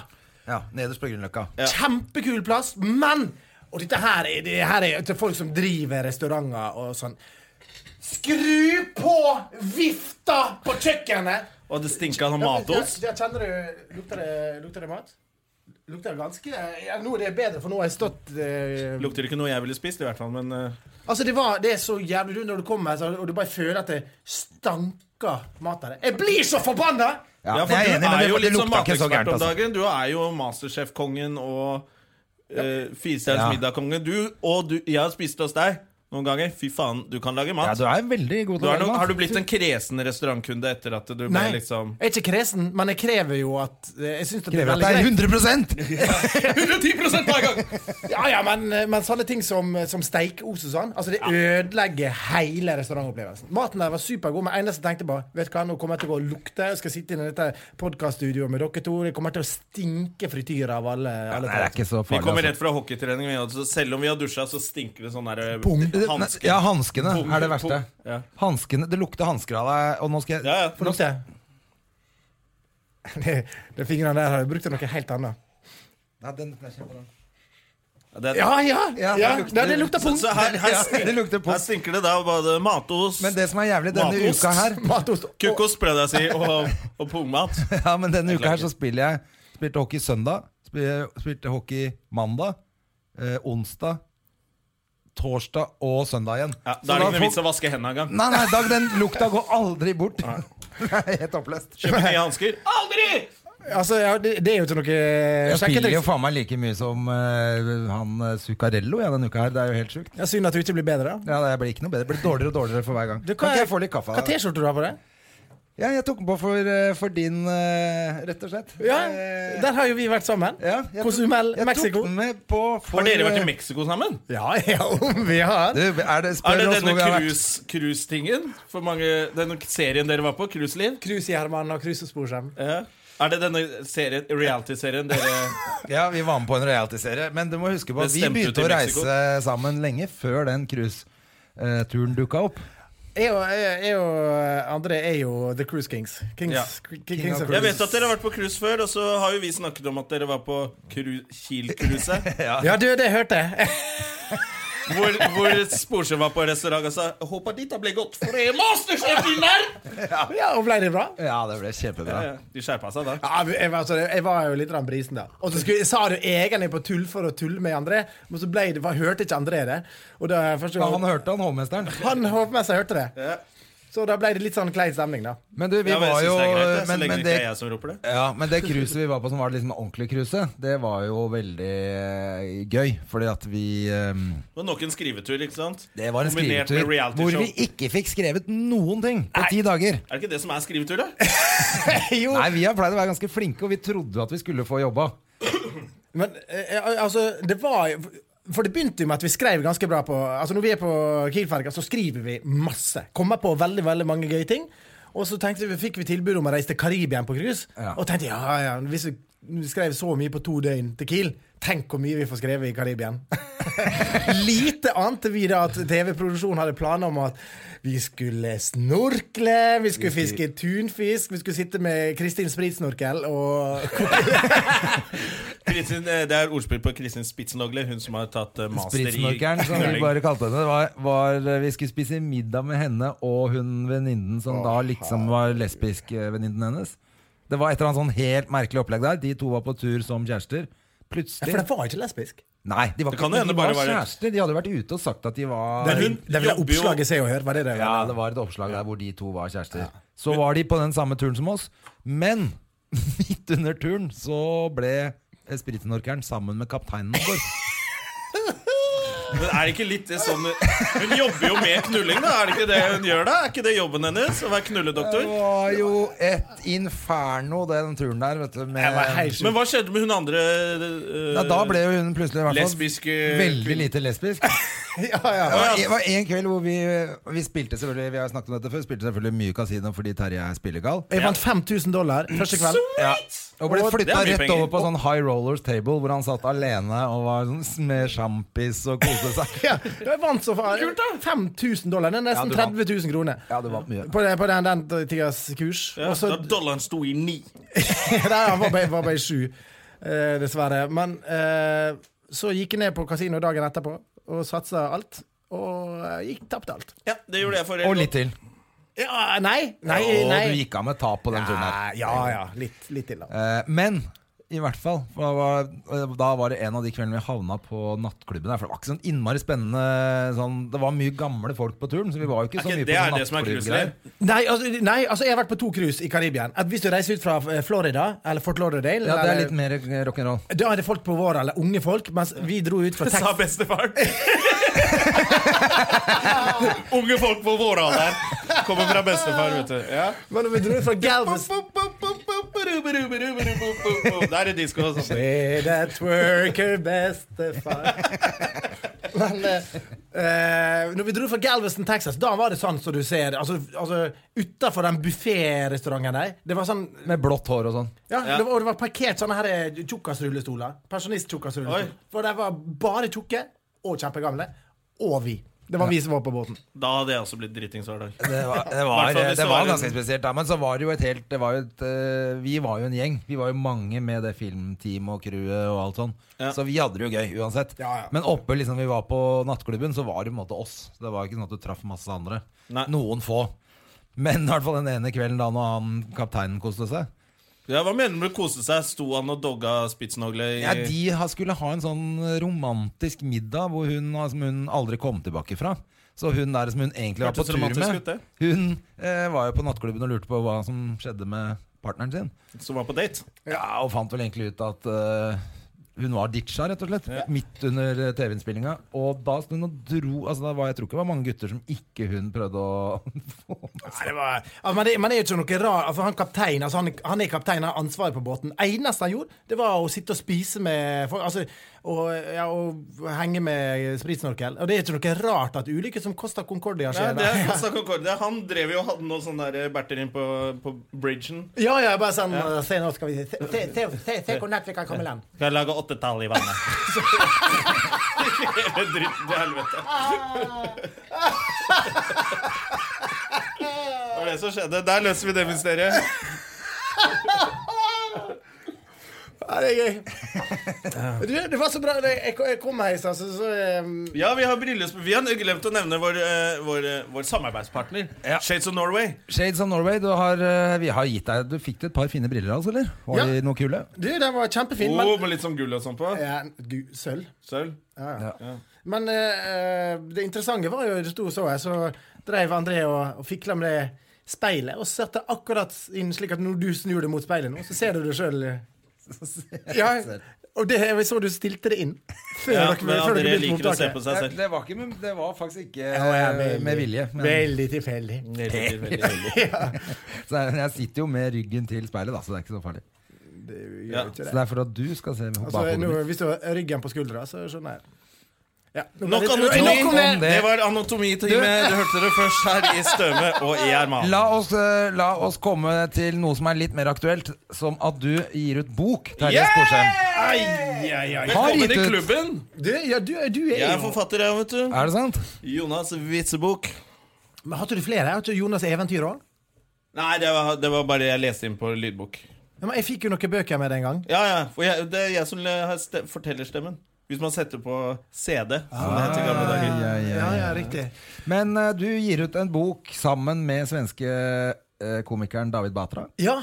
Ja, Nederst på Grünerløkka. Ja. Kjempekul plass, men Og dette her er, det her er til folk som driver restauranter og sånn. Skru på vifta på kjøkkenet! Og det stinka av Ja, men, matost. Ja, ja, kjenner du Lukter det, lukter det mat? Lukter det ganske ja, Nå er det bedre, for nå har jeg stått eh, Lukter ikke noe jeg ville spist, i hvert fall, men eh, Altså, det, var, det er så jævlig rundt når du kommer her, så- og du bare føler at det stanker mat av det. Jeg blir så forbanna! Ja, Ja, for jeg du er enig, men er det, jo det litt sånn lukta ikke så matekspert gærent. om Altså. dagen. Du er jo Masterchef-kongen og uh, Firestjerners Ja. middag-kongen. Du, og du, jeg har spist hos deg noen ganger. Fy faen, du kan lage Ja, mat. du er veldig god du til å har, lage no, har mat. du blitt en kresen restaurantkunde etter at du ble Nei, [laughs] liksom jeg er ikke kresen, men jeg krever jo at eh, Jeg syns det blir Krever at veldig det greit. er [laughs] 100 110 hver gang! Ja, ja, men, men sånne ting som, som steikeost og sånn, altså det ødelegger hele restaurantopplevelsen. Maten der var supergod, men eneste jeg tenkte på, vet du hva, nå kommer jeg til å gå og lukte. Jeg skal sitte inne i dette podkaststudioet med dere to. Det kommer til å stinke frityr av alle. Nei, alle det er plater. ikke så Vi kommer farlig. altså. rett fra hockeytrening. vi også. Selv om vi har dusja, så stinker det sånn der Pung. eh, Altså. hanske. Ja, hanskene Pung, er det verste. pung. Ja. Hanskene, Det lukter hansker av deg, og nå skal Ja, jeg ja. Få lukte. [laughs] De de fingrene der har jeg brukt til noe helt annet. Nei, den- den er kjempebra. Ja, det, Ja, ja! ja, Ja, det lukter- Nei, det lukter så, punkt. så her, her, Ja, det stinker, lukter pung. her stinker det da både matost, Men det som er jævlig denne Matost. [laughs] uka her Matost. Og- kukost, pleide jeg å si, og, og pungmat. Ja, men denne uka her klager. så spiller jeg Spilte hockey søndag spil- Spilte hockey mandag eh, Onsdag Torsdag og søndag igjen Ja, Så da er det ikke noe får- vits å vaske hendene engang. Nei, nei, Dag, den lukta går aldri bort [laughs] Det er helt oppløst Kjøp [laughs] nye hansker. Aldri! Altså, ja, det, det er jo ikke noe Jeg spiller jo sjekketriks. faen meg like mye som eh, han eh, Zuccarello ja, denne uka her Det er jo helt sjukt Ja, Synd at du ikke blir bedre, da. ja, det blir ikke noe bedre, det blir dårligere og dårligere for hver gang Du, hva Kan er- ikke jeg få litt kaffe? Hva T-skjorte du har på deg? Ja, jeg tok den på for, eh, for din, eh, rett og slett Ja, Eh, der har jo vi vært sammen. ja, jeg tok- Cozumel, jeg Mexico. tok den med på for, Har dere vært eh, i Mexico sammen? Ja, [laughs] ja, om vi har. Du, er det, spør Er det oss denne hvor vi har vært. cruise- cruise-tingen? For mange, denne serien dere var på? Cruiseliv? Cruise i Herman og cruise og Sporsem. Ja. Er det denne serien, reality-serien dere Ja, Vi var med på en reality-serie. Men du må huske på Det at vi stemte ut i begynte å Mexico. reise sammen lenge før den cruiseturen dukka opp. Jeg og, jeg, jeg og André er jo The Cruise Kings. Kings, Ja. K- Kings of of Jeg Cruise. vet at dere har vært på cruise før, og så har jo vi snakket om at dere var på cru- [laughs] Kiel-cruiset. Ja, du, det hørte jeg. Hvor, hvor Sporsem var på restaurant og sa 'Håper dette ble godt, for det er Masterchef-vinner!' [laughs] Ja, og ble det bra? Ja, det ble kjempebra. Ja, ja. De skjerpa seg da. Ja, men jeg, var- altså, jeg var jo litt rann brisen da. Og så skulle, sa du egentlig på tull for å tulle med André, men så ble det, hva, hørte ikke André det. Og da, første Ja, han gang, hørte han hovmesteren. han håper meg seg hørte det. Så da ble det litt sånn klein stemning, da. Men du, vi Ja, men jeg var synes jo det er greit, det, så men, lenge men det det ikke er jeg som roper det. ja, men det cruiset vi var på som var det liksom ordentlig cruiset, det var jo veldig eh, gøy. Fordi at vi eh, Det var nok en skrivetur, ikke sant? Det var en Kombinert skrivetur med reality hvor vi show. ikke fikk skrevet noen ting på ti dager. Er det ikke det som er [laughs] skrivetur, da? jo. Nei, vi har pleid å være ganske flinke, og vi trodde at vi skulle få jobba. Men eh, altså, det var jo- For det begynte jo med at vi skrev ganske bra på Altså Når vi er på Kiel-ferga, så skriver vi masse. Kommer på veldig veldig mange gøye ting. Og så tenkte vi, fikk vi tilbud om å reise til Karibia på cruise. Ja. Og tenkte ja, ja, hvis vi vi skrev så mye på to døgn til Kiel, tenk hvor mye vi får skrevet i Karibia. [laughs] Lite ante vi da at TV-produksjonen hadde planer om at vi skulle snorkle, vi skulle fiske tunfisk, vi skulle sitte med Kristin Spritsnorkel og Kristin, eh, det er ordspill på Kristin Spitzenlogle, hun som har tatt eh, master i Spritsnorkeren, som vi knøling. bare kalte henne, var, var eh, Vi skulle spise middag med henne og hun venninnen som da liksom var lesbisk eh, venninnen hennes. Det var et eller annet sånn helt merkelig opplegg der. De to var på tur som kjærester. Ja, For Plutselig det var ikke lesbisk. Nei, de var, Det kan ikke, jo hende de var bare være- kjærester. De hadde vært ute og sagt at de var Det Men hun ville vil jobber jo- oppslaget Se og Hør. Var det det? Ja, det var et oppslag der hvor de to var kjærester. Så var de på den samme turen som oss, men [laughs] midt under turen så ble spritsnorkeren sammen med kapteinen vår. Men er det ikke litt det sånn Hun jobber jo med knulling, da. Er det ikke det hun gjør, da? Er ikke det jobben hennes? Å være Det knulledoktor? var jo et inferno, den turen der. Vet du, med, Jeg var helt Men hva skjedde med hun andre eh, ja, da ble jo hun plutselig i hvert fall lesbiske veldig lite [laughs] lesbisk. [laughs] ja, ja, Det ja. var- Det var en kveld hvor vi, vi spilte selvfølgelig Vi har snakket om dette før Spilte selvfølgelig mye kasino fordi Terje er spillegal. Jeg vant 5000 dollar første kveld. Og ble Og det flytta er mye rett penger. over på sånn high rollers table, hvor han satt alene og var sånn s- med sjampis og koste seg. Ja, jeg vant så faen. 5000 dollar. Det er nesten Ja, du 30 000 kroner. Ja, du vant mye. På, den- på den, den tidas kurs. Ja, Og så da dollaren sto i ni. [laughs] Nei, han var bare- var bare sju, eh, dessverre. Men eh, så gikk jeg ned på kasino dagen etterpå og satsa alt. Og eh, gikk tapte alt. Ja, det gjorde jeg forrige Og litt til. Ja, nei, nei, Og nei. du gikk av med tap på den turen her. Ja, ja, ja. Litt, litt til, da. Eh, Men i hvert fall. for Da var, eh, da var det en av de kveldene vi havna på nattklubben. der For Det var ikke sånn innmari spennende sånn, Det var mye gamle folk på turen, så vi var jo ikke så mye Det er på sånn det som er nattklubbgreier. cruiseliv. Nei altså, nei, altså jeg har vært på to cruise i Karibien. At hvis du reiser ut fra eh, Florida, eller Fort Lauderdale Ja, det er eller- litt mer eh, rock'n'roll. Da er det folk på vår eller unge folk, mens vi dro [laughs] ut fra Sa Texas. bestefaren. [laughs] Unge folk på vår alder. Kommer fra bestefar, vet du. Ja. Men vi dro ut [laughs] fra Galveston Da er det altså. disko og sånt. With a twerker [laughs] bestefar eh, Men eh, eh, Når vi dro fra Galveston, Texas, da var det sånn som du ser Altså, altså utafor den bufférestauranten der. Det var sånn Med blått hår og sånn. ja, Ja. Det, var, og det var parkert sånne her eh, tjukkasrullestoler. Pensjonist-tjukkasrullestoler. Oi. For de var bare tjukke og kjempegamle. Og vi. Det var vi som var på båten. Da hadde jeg også blitt dritings hver dag. Det var, det Hvert var, fall hvis det det var var en- ganske spesielt, da. Men så var det jo et helt det var jo et, eh, Vi var jo en gjeng. Vi var jo mange med det filmteamet og crewet og alt sånn. Ja. Så vi hadde det jo gøy uansett. Ja, ja. Men oppe liksom vi var på nattklubben, så var det på en måte oss. Det var ikke sånn at du traff masse andre. Nei. Noen få. Men i hvert fall den ene kvelden da når han kapteinen koste seg Ja, Hva mener du med kose seg? Sto han og dogga spitsnogle i Ja, De ha- skulle ha en sånn romantisk middag hvor hun, har- som hun aldri kom tilbake fra. Så hun der som hun egentlig var på Hørtes tur romantisk ut, med, det. hun eh, var jo på nattklubben og lurte på hva som skjedde med partneren sin. Som var på date? Ja, Og fant vel egentlig ut at eh, hun var ditcha, rett og slett. Midt under eh, TV-innspillinga. Og da sto hun og dro altså, da var, Jeg tror ikke det var mange gutter som ikke hun prøvde å [laughs] få med. Nei, det var, ja, men, det, men det er jo ikke noe rar altså, Han kaptein, altså, han, han er kaptein, han har ansvaret på båten. Eneste han gjorde, det var å sitte og spise med folk. Altså, og, ja, og henge med spritsnorkel. Og det er ikke noe rart at ulykker som Costa Concordia Nei, skjer. det da. er Costa Concordia. Han drev jo og hadde noe sånn der berter inn på, på bridgen. [laughs] Ja, ja, bare sånn Se nå, skal vi se, se, se, se, se hvor nært vi kan komme land. Skal jeg lage åttetall i [laughs] vannet? Hele dritten til helvete. Det var det som skjedde. Der løser vi det mysteriet. Ja, det er gøy. Du, det var så bra. det- Jeg jeg kom her i stad, så, så eh, Ja, vi har brillesp... Vi har glemt å nevne vår, eh, vår, eh, vår samarbeidspartner. Shades of Norway. Shades of Norway, du, har, eh, vi har gitt deg, du fikk et par fine briller av oss, eller? Var Ja. de noe kule? Du, den var kjempefin, Oh, men med litt sånn gull og sånn på. ja, gud, Sølv. Sølv. Ja, ja. Ja. Men eh, eh, det interessante var jo Det sto og så her, så dreiv André og, og fikla med det speilet. Og satte akkurat inn slik at når du snur det mot speilet nå, så ser du det sjøl. Ja, og det, jeg så du stilte det inn. Før Ja, dere, men før dere André begynte liker å se på opptaket. seg selv. det, var ikke, med- det var faktisk ikke Ja, eh, veldig- med vilje. Men, Veldig tilfeldig. Veldig, veldig, veldig. så jeg, jeg sitter jo med ryggen til speilet, da, så det er ikke så farlig. Det gjør Ja. Så ikke det. det er for at du skal se Altså, bakhodet nå, mitt. hvis du har ryggen på skuldra, så skjønner jeg. Ja, nå ble Nok det- anatomi. Nok om det. det. Det var anatomitime. Du hørte det først her i Støme og i Herman. La oss, eh, la oss komme til noe som er litt mer aktuelt, som at du gir ut bok. Terje Sporsheim. Ai, ai, ai. Har gitt Velkommen i ut. klubben. Du, ja, du, du er Jeg er jo forfatter, jeg, vet du. Er det sant? Jonas Witzebukk. Men Hadde du flere? Hadde du Jonas' eventyr òg? Nei, det var, det var bare jeg leste inn på lydbok. Ja, men jeg fikk jo noen bøker med det en gang. Ja, ja, for jeg, Det er jeg som le- har ste fortellerstemmen. Hvis man setter på Sånn CD, Ah. som det het i gamle dager. Ja, ja, Ja, ja. ja, riktig. Men eh, du gir ut en bok sammen med svenske eh, komikeren David Batra. Ja,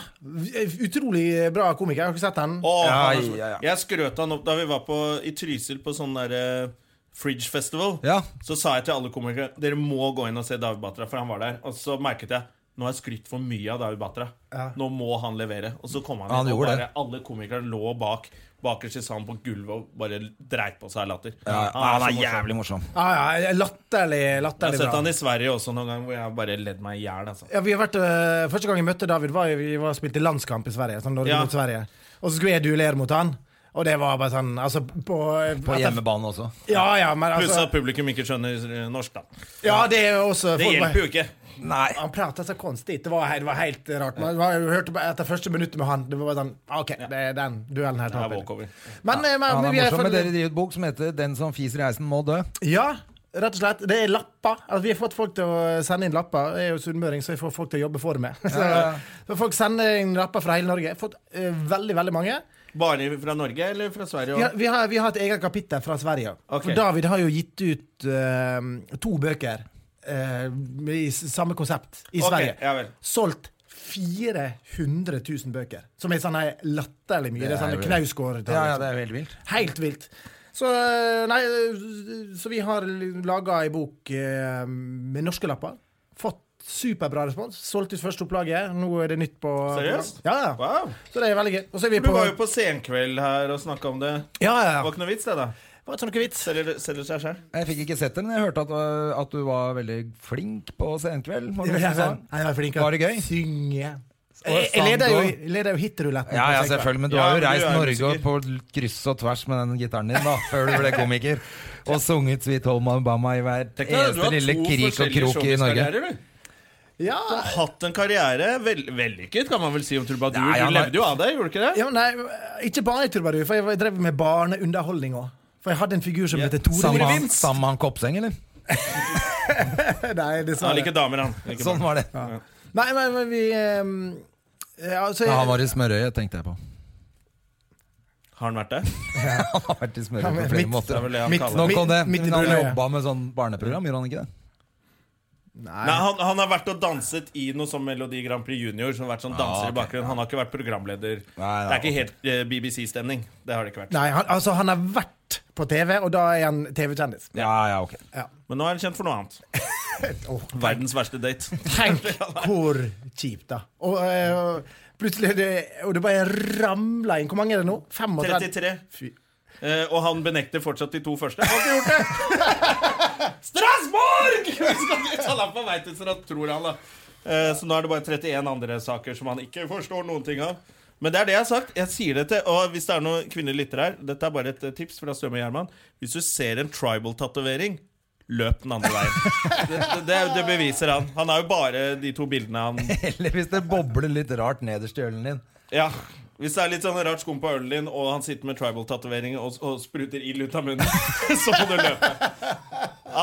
utrolig bra komiker. Jeg har ikke sett den. Åh, Ja, han er så- ja, ja. Jeg skrøt han opp da vi var på, i Trysil på sånn der eh, Fridge Festival. Ja. Så sa jeg til alle komikere Dere må gå inn og se David Batra, for han var der. Og så merket jeg nå har jeg skrytt for mye av David Batra. Ja. Nå må han levere. Og så kom han Ja, inn, han og gjorde bare det. alle komikere lå bak bakerst i salen på gulvet og bare dreit på seg av latter. han Ah, så er morsom. jævlig morsom. Ja, ja, latterlig, Jeg har latterlig sett han bra. i Sverige også noen gang hvor jeg bare ledd meg i hjel. Altså. Ja, vi har vært, øh, første gang jeg møtte David, var jo- vi var spilte landskamp i Sverige. Sånn Norge Ja. mot Sverige. Og så skulle jeg duellere mot han. Og det var bare sånn Altså, på, På hjemmebane også. Ja, ja, men Pluss altså at publikum ikke skjønner eh, norsk, da. Ja, det er jo også Det folk bare- hjelper jo ikke. Nei. Han prata så konstig. Det var, he- det var helt rart. Man man hørte bare etter første minuttet med han Det var bare sånn OK, det er den duellen her. Det er taper. walkover. Men, eh, men, Han men er vi er morsom, men for- dere driver ut bok som heter 'Den som fiser i heisen, må dø'. Ja, rett og slett. Det er lapper. Altså, vi har fått folk til å sende inn lapper. Jeg er jo sunnmøring, så jeg får folk til å jobbe for meg. [laughs] Så, ja. så folk sender inn lapper fra hele Norge. Jeg har fått eh, veldig, veldig mange. Bare fra Norge eller fra Sverige? Vi også? har, vi har, vi har et eget kapittel fra Sverige. Ok. For David har jo gitt ut eh, to bøker eh, med i s- samme konsept i Ok, Sverige. ja vel. Solgt 400 000 bøker. Som er sånn her latterlig mye. Det er Det er sånn jo- knausgård. Ja, ja, det er jo helt vilt. Helt vilt. Så, eh, nei, eh, så vi har laga ei bok eh, med norske lapper. Fått superbra respons. Solgt ut første opplaget. Nå er det nytt på Seriøst? Ja, ja. Wow. Så det er veldig gøy. Og så er vi Du på var jo på Senkveld her og snakka om det. Ja, ja, Det ja. var ikke noe vits, det, da. Det var ikke noe vits. Selger, selger seg selv Jeg fikk ikke sett den, men jeg hørte at, øh, at du var veldig flink på senkveld. var det noen sånn. Jeg som sa? var flink Var det gøy? synge. Og Jeg, jeg leder jo, stand jeg leder jo hitruletten. Ja, på ja, Senkveld. selvfølgelig, men du Ja, har jo men du reist er Norge musiker. på kryss og tvers med den gitaren din da, før du ble komiker. Og sunget Sweet Home Alabama i hver Tenk deg, du eneste har lille to krik og forskjellige krok i Norge. showbiz-karrierer, du. Ja, Du har hatt en karriere vel, vellykket, kan man vel si om Trubadur. Nei, han du har- levde jo av det, gjorde du ikke det? ja, men nei, ikke bare i Trubadur, for jeg var- jeg drev med barneunderholdning òg. For jeg hadde en figur som Ja. heter Tore Sammen med han- Vinst. sammen med han Kopseng, eller? [laughs] Nei, dessverre. Han liker damer, han. Liker Sånn barn. var det. Nei, men, men vi ehm, ja, altså, Ja, han var i smørøyet, tenkte jeg [laughs] på. Har han vært det? Han har vært i Ja, smørøyet men på flere mitt- Det er måter. vel det han Mitt- kaller Nå det. kom det. midt i Men han brødet. jobba med sånn barneprogram, gjorde han ikke det? Nei, Nei. han, han har vært og danset i noe som Melodi Grand Prix Junior. Som har vært sånn danser ok. i bakgrunnen Han har ikke vært programleder. nei, det er ikke ok. helt eh, BBC-stemning. Det har det ikke vært. Nei, han, altså, han har vært på TV, og da er han TV-kjendis. Ja, ja, [laughs] ok. Ja. Men nå er han kjent for noe [laughs] annet. Oh, Åh, Verdens verste date. tenk [laughs] hvor kjipt, da. Og eh, plutselig det, Og det bare ramla inn. Hvor mange er det nå? 35? 33. Fy. Eh, og han benekter fortsatt de to første. Han har ikke gjort det! [laughs] Strasbourg! [laughs] Vi skal ikke kalle ham på vei til Strasbourg, tror han, da. Eh, så nå er det bare 31 andre saker som han ikke forstår noen ting av. Men det er det jeg har sagt. Jeg sier det til Og hvis det er noen kvinnelige lyttere her, dette er bare et eh, tips fra Støme Gjerman. Hvis du ser en tribal-tatovering Løp den andre veien. [laughs] Det, det, det beviser han. Han har jo bare de to bildene han Eller hvis det bobler litt rart nederst i ølen din. Ja. Hvis det er litt sånn rart skum på ølen din, og han sitter med tribal-tatovering og, og spruter ild ut av munnen, [laughs] så må du løpe.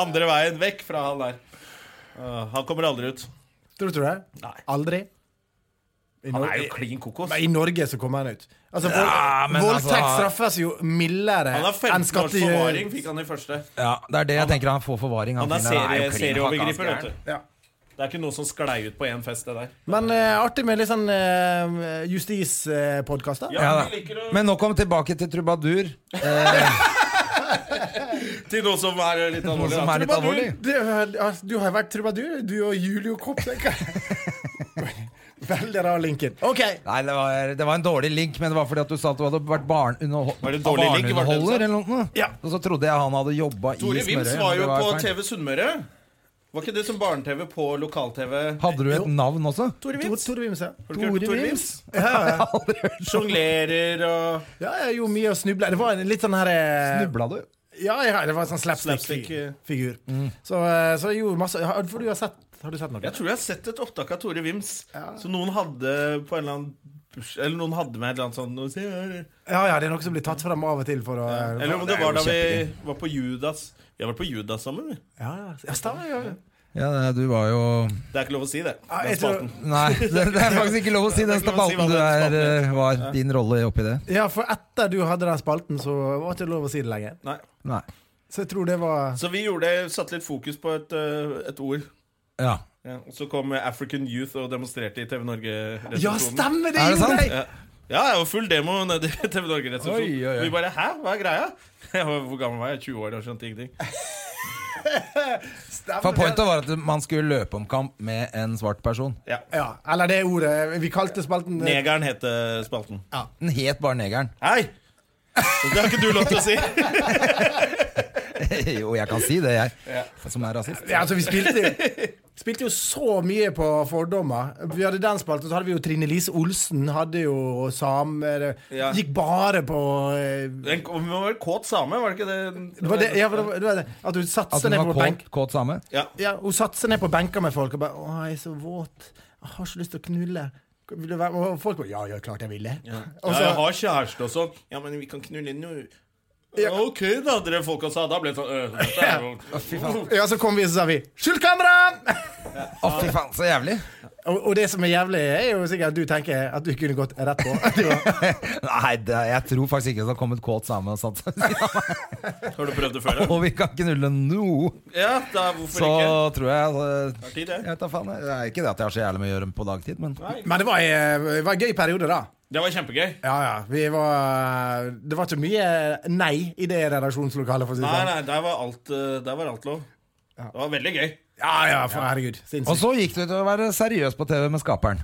Andre veien. Vekk fra han der. Åh, han kommer aldri ut. Tror du det? Nei. Aldri? I Han Norge- er jo klin kokos. Men I Norge så kommer han ut. Altså, vold, Ja, men voldtekt altså- straffes jo mildere Han har 15 enn års skatte... forvaring, fikk han i første. Ja, det er det jeg tenker. Han får forvaring. Han er fyren der serie, jo klin serieovergriper, hakka vet du. Ja. Det er ikke noe som sklei ut på én fest, det der. Men eh, artig med litt sånn uh, justispodkast, da. Ja, Ja, vi liker da. å- Men nå kom tilbake til Trubadur. Til noe som er litt Noe alvorlig. som da. er litt Tror alvorlig. Du, altså, du har jo vært trubadur, du og Julio Kopp. tenker jeg. [laughs] Veldig rar linken. OK. Nei, det var, det var en dårlig link, men det var fordi at du sa at du hadde vært barn underho- Var det en sånn- dårlig link, var det det du sa? barneunderholder eller noe. Ja. Og så trodde jeg han hadde jobba i Tore Smørøy. Vims men var det jo på feil. TV Sunnmøre. Var ikke det som barne-TV på lokal-TV? Hadde du Jo. et navn også? Tore Tor- Vims. Tore Vims, ja. Har du ikke hørt om Tore Vims? [laughs] Sjonglerer og Ja, jeg gjorde mye og snubla. Det var en litt sånn her eh, Snubla du? Ja, ja, det var en sånn Slapstick, eh. slapstick-figur. Så, eh, så jeg gjorde masse har, for du har, sett, har du sett noe? Jeg tror jeg har sett et opptak av Tore Vims som noen hadde på en eller annen burs- Eller noen hadde med et eller annet sånt noe, se her. Ja, ja, det er noe som blir tatt fram av og til for å Eller om det det er var jo da vi var på Judas. Vi har vært på Judas sammen, vi. Ja, ja. ja, stemmer, ja. Ja, nei, du var jo Det er ikke lov å si det. Ja, Den jeg tror- spalten. [laughs] Nei, det, det er faktisk ikke lov å si den Det er ikke lov å si hva spalten du den er, spalten eh, var. Din rolle oppi det. ja, for etter du hadde den spalten, så var det ikke lov å si det lenger. Nei. Nei. Så jeg tror det var Så vi gjorde, satte litt fokus på et, øh, et ord. Ja. Ja, og så kom African Youth og demonstrerte i TV Norge-resepsjonen. Ja, stemmer! Det Er det gjorde sant? jeg! Ja, ja, jeg var full demo nede i TV Norge-resepsjonen. Oi, oi, oi. Vi bare 'hæ, hva er greia?' [laughs] Jeg var, hvor gammel var jeg? 20 år og skjønte ingenting. Stemmer For det. pointet var at man skulle løpe om kamp med en svart person. Ja. Ja, eller det ordet. Vi kalte spalten eh, Negeren het eh, spalten. Den het bare Negeren. Hei! Det har ikke du lov til å si. [laughs] jo, jeg kan si det, jeg. Som er rasist. Ja, altså, vi spilte jo, spilte jo så mye på fordommer. Vi hadde den spalten, så hadde vi jo Trine Lise Olsen. Hadde jo samer. Ja. Gikk bare på eh, Den kom- Hun var vel kåt same, var det ikke det? det var det, ja, for det, var- det var det. At hun satte At seg hun ned var på benk kåt, kåt same? Ja. Ja, hun satte seg ned på benker med folk og bare 'Å, jeg er så våt. Jeg har så lyst til å knulle'. Vil du være med? Og folk bare 'Ja, ja, klart jeg vil det'. Ja. Og så- jeg har kjæreste og sånn. Ja, men vi kan knulle nå. Ja. OK, da, dere folka sa. Da ble det sånn øh, dette er jo- Ja, så kom vi, og så sa vi 'Skjul kamera!' Å, fy faen, så jævlig! [laughs] Og, og det som er jævlig, er jo sikkert at du tenker at du kunne gått rett på. Det var- Nei, det, jeg tror faktisk ikke det har kommet kåt same og [laughs] satt seg Har du prøvd det før? da? Og vi kan knulle nå! Ja, da, hvorfor Så ikke? tror jeg eh, Tid, det. Jeg tar faen, jeg. Det er ikke det at jeg har så jævlig mye å gjøre på dagtid, men Men det var, eh, det var en gøy periode, da. Det var kjempegøy. Ja, ja. Vi var, det var ikke mye nei i det redaksjonslokalet, for å si det Nei, sånn. nei, der var alt, eh, der var alt lov. Det var veldig gøy. Ja, ja, for herregud. Og Sinnssykt. så gikk det ut til å være seriøs på TV med Skaperen.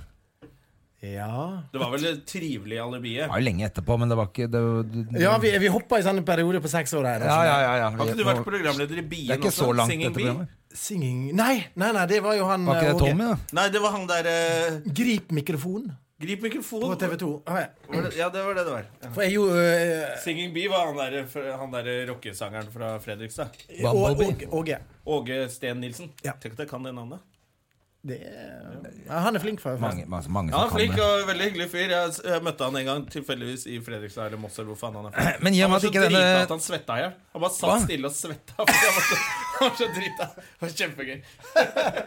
Ja, Det var vel det trivelige alibiet. Det var jo lenge etterpå, men det var ikke det, det, ja vi, vi hoppa i sånne perioder på seks år her. ja, altså. ja, ja, ja. Har ikke du vært programleder i Bien Det er ikke så langt, Singing dette Bee? programmet. Singing Nei, nei, nei, det var jo han eh, Var ikke det Åge. Tommy, da? Nei, det var han der eh, Grip mikrofonen Grip mikrofonen. på TV 2. Var det- Ja, det var det det var. Ja. For jeg gjorde øh, Singing Bee var han der, eh, han der eh, rockesangeren fra Fredrikstad. Bumblebee. Åge- Åge. Åge Steen Nilsen. Ja. Tenk at jeg kan det navnet. Det er, ja, han er flink, for Mange, mange, mange Ja, han som er flink kan det. og veldig hyggelig fyr. Jeg, jeg møtte han en gang tilfeldigvis i Fredrikstad eller Moss eller hvor faen han er fra. Men [clears throat] i og Han med var at så ikke drita denne at han svetta i hjel. Han bare Hva? satt stille og svetta. [laughs] fordi Han var så, han var så drita. Det var kjempegøy.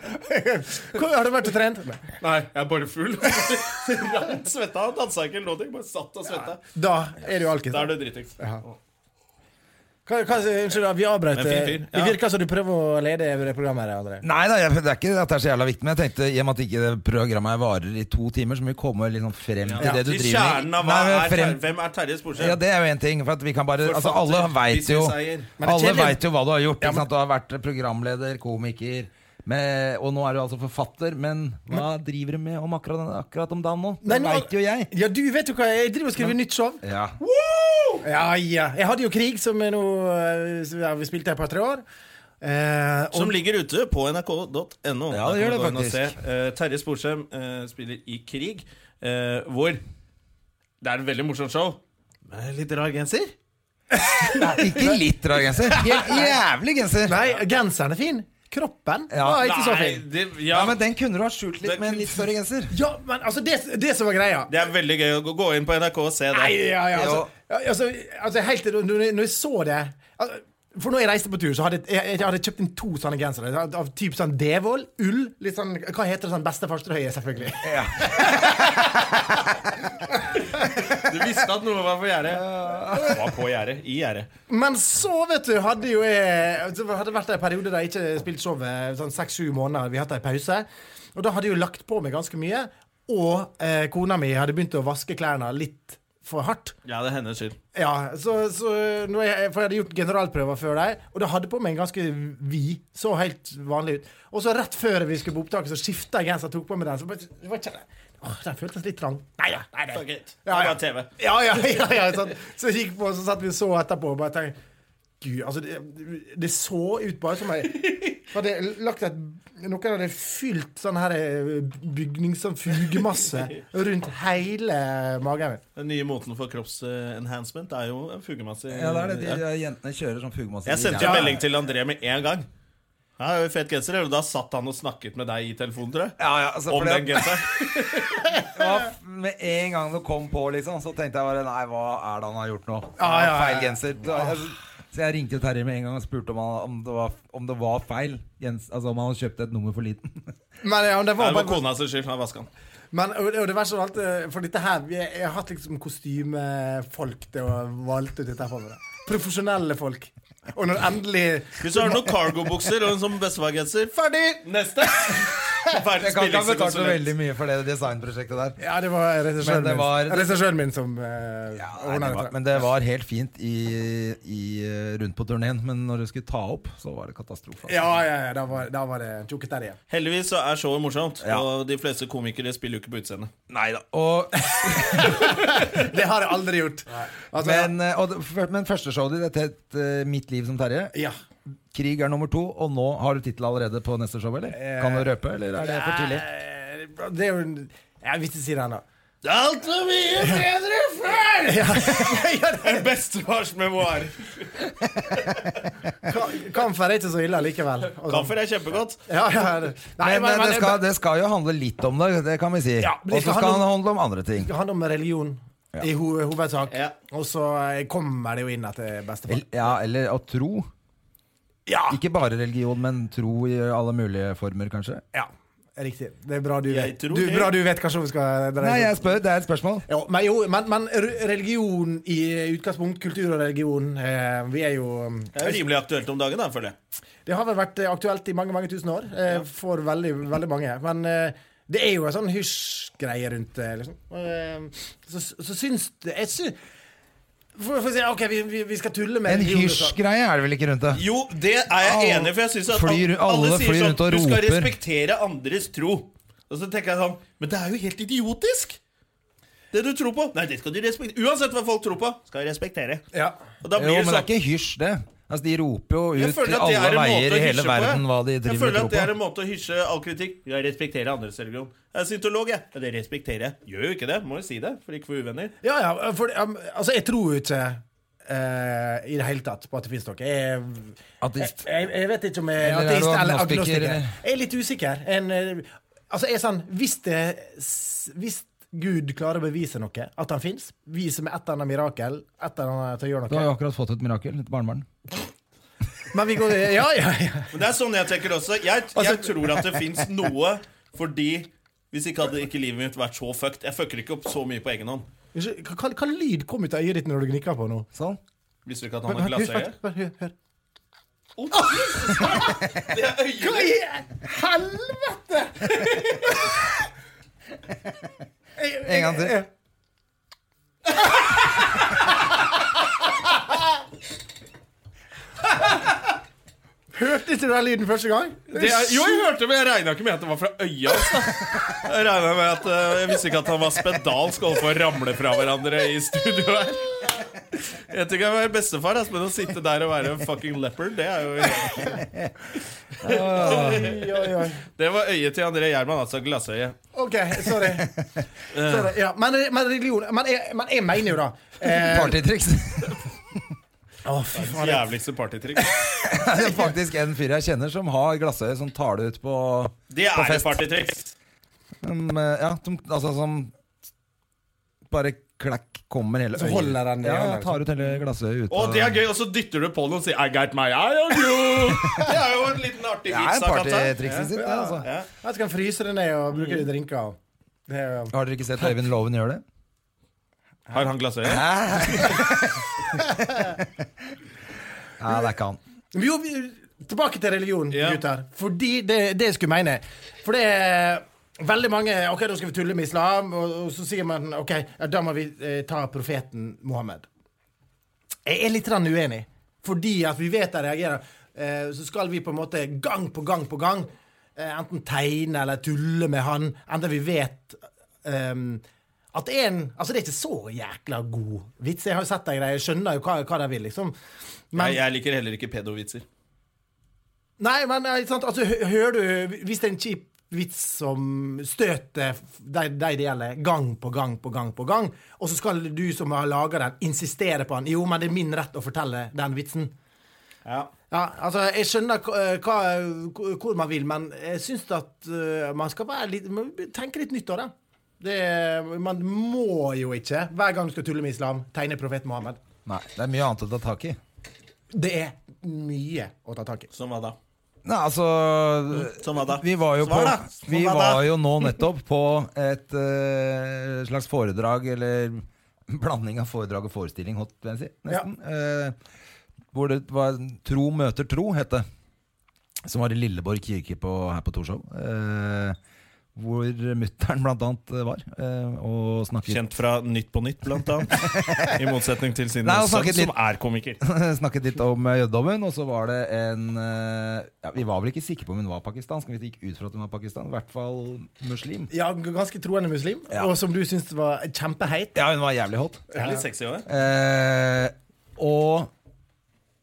[laughs] Hvor har du vært og trent? Nei, jeg er bare full. [laughs] Han svetta, han dansa ikke eller noe, bare satt og svetta. Da er du alkis. Da er du dritings. Ja. Hva, hva, unnskyld, vi avbrøt. eh, Men fin fyr, Det ja. virker som altså, du prøver å lede det programmet. her, André. Nei da, jeg- det er ikke at det er så jævla viktig, men jeg tenkte i og med at ikke det programmet varer i to timer, så må vi komme liksom frem til Ja. det du Til driver kjernen med. av hva Nei, er frem- Terje- hvem er Terje Sporsem? Ja, det er jo en ting. For at vi kan bare, altså, alle Forfatter, veit jo, businesseier. Men det er alle kjedelig. vet jo hva du har gjort. Ja, ikke men- sant? Du har vært programleder, komiker, med, og nå er du altså forfatter. Men hva driver du med om akkurat, akkurat om dagen nå? Nei, Det nå- veit jo jeg. Ja, du vet jo hva, jeg driver og skriver nytt show. Ja. Ja, ja. Jeg hadde jo Krig, som er noe eh, som- ja, vi spilte her på tre år. Eh, og, Som ligger ute på nrk.no. Ja, det Der kan gjør du det gå inn og faktisk. se. Eh, Terje Sporsem eh, spiller i Krig, eh, hvor Det er et veldig morsomt show. Med litt rar genser. Ikke litt rar genser. Helt jævlig genser. nei, genseren er fin. Kroppen Ja. var ikke så Nei, fin. det, ja. Ja, men den kunne du ha skjult litt Det- med en litt større genser. Ja, men altså, det, det som var greia det er veldig gøy å gå- gå inn på NRK og se det. Nei, ja, ja, altså, Jo. ja, altså, altså Helt til når, når jeg så det altså, For når jeg reiste på tur, så hadde jeg, jeg hadde kjøpt inn to sånne gensere. Av av typ sånn Devold, ull litt sånn, Hva heter det sånn bestefarstrøye, selvfølgelig. [laughs] Du visste at noe var på gjerdet. Var på gjerdet. I gjerdet. Men så, vet du, hadde jo jeg Det hadde vært en periode der jeg ikke spilte showet sånn seks-sju måneder. Vi hadde en pause. Og da hadde jeg jo lagt på meg ganske mye. Og eh, kona mi hadde begynt å vaske klærne litt for hardt. Ja, det er hennes skyld. Ja, så, så når jeg, For jeg hadde gjort generalprøver før der, og det hadde på meg en ganske vid. Så helt vanlig ut. Og så rett før vi skulle på opptaket, så skifta jeg genser og tok på meg den. Så bare, det var ikke, åh, den føltes litt trang. Nei ja, nei, nei. Fuck it. Ja, Det ja. var TV. Ja, ja, ja, ja sånn. Så jeg gikk på, så satt vi og så etterpå og bare tenkte Gud, altså det, det så ut bare som jeg hadde lagt et Noen hadde fylt sånn her bygnings... Sånn fugemasse rundt hele magen min. Den nye moten for kroppsenhancement er jo en fugemasse. Ja, det er det. De, Jentene kjører sånn fugemasse. Jeg sendte Ja. jo melding til André med en gang. Ja, det er jo fet genser, eller? Da satt han og snakket med deg i telefonen, tror jeg. ja, ja, altså, Om fordi at- den genseren. det var f- Med en gang det kom på, liksom, så tenkte jeg bare Nei, hva er det han har gjort nå? Ja, ja, ja. Ah. Feil genser. Da- jeg- Så jeg ringte Terje med en gang og spurte om, han, om, det, var, om det var feil. Jens, altså om han hadde kjøpt et nummer for liten. Men, ja, men [laughs] det Nei, var Det var bare kona sin skyld. Han vaska den. Men og det, og det verste av alt, eh, for dette her Jeg, jeg har hatt liksom kostymefolk til å valgte ut dette her for meg. da. Profesjonelle folk. Og når endelig Hvis du har noen cargobukser og en sånn bestefar-genser, ferdig! Neste! Jeg [laughs] Verdens kan ikke ha billigste betalt så konsulent. veldig mye for det designprosjektet der. Ja, det var regissøren Men det min, var- regissøren min som uh, Ja, nei, det var, men det var helt fint i, i, eh, rundt på turneen, men når du skulle ta opp, så var det katastrofe. altså. Ja, ja, ja, da var, da var det tjukket der igjen. Heldigvis så er showet morsomt, Ja. og de fleste komikere spiller jo ikke på utseendet. Og, Altså- Det har jeg aldri gjort. Altså, men, eh, og, det- f- men første showet ditt het eh, Mitt liv som Terje. ja. Krig er nummer to, og nå har du tittel allerede på neste show, eller? Kan du røpe, eller er det for tidlig? Eh, Det er jo en- Jeg vil ikke si det ennå. Alt var mye bedre [laughs] før! Ja. ja, det- Bestefars memoar. ka- Kamfer er ikke så ille likevel. Og sånn. Kaffer er kjempegodt. Ja, ja, det- Nei, Men, men, men det, skal, men det skal jo handle litt om det, det kan vi si. Ja, men og det så skal skal handle det handle om andre ting. det handler om religion i ho hovedsak. Ja. Og så eh, kommer det jo inn etter bestefar. El- Ja, eller å tro. Ja. Ikke bare religion, men tro i alle mulige former, kanskje. ja. Riktig. Det er bra du Jeg vet, tror du, det. bra du vet hva som skal dreie Nei, seg om. jeg spør, det er et spørsmål. Ja, men, jo, men, men re- religion i utgangspunkt, kultur og religion eh, Vi er jo Det er jo rimelig aktuelt om dagen, da, føler jeg. Det har vel vært eh, aktuelt i mange mange tusen år eh, for veldig veldig mange. Men eh, det er jo en sånn hysj-greie rundt det, liksom. Eh, så, så syns det Jeg syns for, for å si, OK, vi, vi, vi skal tulle med En religion, så- hysj-greie er det vel ikke rundt det? Jo, det er jeg Alle enig i, for jeg syns at flyr- alle sier flyr sånn rundt og Du skal roper." respektere andres tro. Og så tenker jeg sånn Men det er jo helt idiotisk! Det du tror på. Nei, det skal du respektere. Uansett hva folk tror på, skal jeg respektere. sånn. Ja. Og da Jo, blir men det det er sånn ikke hysj, det. Altså, de roper jo jeg ut føler til at det er alle en veier måte å i hele hysje på. verden hva de Jeg driver føler og at det er tror en på. måte å hysje all kritikk. Jeg respekterer andres religion. Jeg er syntolog, jeg. Ja, det respekterer jeg. Gjør jo ikke det. Må jo si det, for ikke å få uvenner. Ja, ja, for um, altså, jeg tror jo ikke eh, i det hele tatt på at det finnes noe. Jeg, Ateist. Jeg, jeg vet ikke om jeg er Eller er ateist du eller agnostiker, agnostiker. eller? Jeg er litt usikker. En, eh, altså, jeg er sånn Hvis det s- Hvis Gud klarer å bevise noe, at han fins, vis meg et eller annet mirakel, et eller annet til å gjøre Du har noe. jo akkurat fått et mirakel, et barnebarn. Men vi går Ja, ja, ja. Men det er sånn jeg tenker også. [laughs] Jeg, jeg tror at det fins noe fordi hvis ikke hadde ikke livet mitt vært så fucked. Jeg fucker ikke opp så mye på egen hånd. Unnskyld, Hva, hva- hva lyd kom ut av øyet ditt når du gnikka på nå? Sånn. Visste du ikke at Hør, han har hør, glassøye? hør, hør, hør. Å, Jesus! [laughs] Det er Hva øyet! i helvete?! Jeg- En gang til. jeg- Hørte ikke du den lyden første gang? Det er, jo, jeg hørte det, men jeg regna ikke med at det var fra altså. øyet hans. da. Jeg regnet med at eh, Jeg visste ikke at han var spedalsk og holdt på å ramle fra hverandre i studio her. Jeg tenker jeg var bestefar, ass, men å sitte der og være en fucking leopard, det er jo Oi, oi, oi. Det var øyet til André Gjerman, altså glassøyet. OK, sorry. sorry. Ja, men, men religion Men jeg, men jeg mener jo da eh, Partytriks. Å, fy faen. Jævligste partytriks. Det er faktisk en fyr jeg kjenner som har glassøye som tar det ut på Det er På fest. et partytriks. um, eh, Ja, som, altså som bare klekk, kommer hele Så holder den i Ja, hånden, tar liksom. ut hele glasset ut. Å, det er gøy! Og så dytter du på noen og sier 'I got my eye on [laughs] you'! Det er jo en liten artig Det er vits av katta. partytrikset sitt, det, altså. Ja. Jeg skal fryse det ned og bruke det i drinker. Det er jo Har dere ikke sett Øyvind Loven gjøre det? Har han glassøye? Nei, det er ikke han. Men Jo, vi, tilbake til religion, Ja. gutter. Fordi det, det jeg skulle mene. For det er veldig mange Ok, da skal vi tulle med islam, og, og så sier man ok, ja, da må vi eh, ta profeten Mohammed. Jeg er litt grann uenig, fordi at vi vet jeg reagerer. Eh, så skal vi på en måte gang på gang på gang eh, enten tegne eller tulle med han, enda vi vet ehm, at en Altså, det er ikke så jækla god vits. Jeg har jo sett de greiene, jeg skjønner jo hva, hva de vil, liksom. Men- Nei, jeg liker heller ikke pedovitser. Nei, men eh, ikke sant? Altså, hø- hører du Hvis det er en kjip vits som støter f- de de det gjelder, gang på gang på gang på gang, og så skal du som har laga den, insistere på den Jo, men det er min rett å fortelle den vitsen. Ja. Ja, altså, Jeg skjønner hva, hva- hva- hvor man vil, men jeg syns at eh, man skal være litt, man tenke litt nytt av det. det. Man må jo ikke, hver gang du skal tulle med islam, tegne profeten Mohammed. Nei, det er mye annet å ta tak i. Det er mye å ta tak i. Som hva da? Nei, altså Som hva da? Vi sånn var jo, på, Svar da! Som vi hva da? var jo nå nettopp på et eh, slags foredrag, eller [laughs] blanding av foredrag og forestilling, holdt jeg på å si, nesten. Eh, hvor det var Tro møter tro, het det. Som var i Lilleborg kirke på, her på Torshov. eh, hvor mutter'n blant annet var, eh, og snakket Kjent fra Nytt på Nytt, blant [laughs] annet. I motsetning til sin Nei, han sønn, snakket som er komiker. [laughs] snakket litt om eh, jødedommen, og så var det en eh, ja, Vi var vel ikke sikre på om hun var pakistansk, men vi gikk ut fra at hun var pakistansk. I hvert fall muslim. Ja, g- ganske troende muslim, Ja. og som du syns var kjempeheit. Ja, hun var jævlig hot. Det er litt sexy òg, det. Eh, og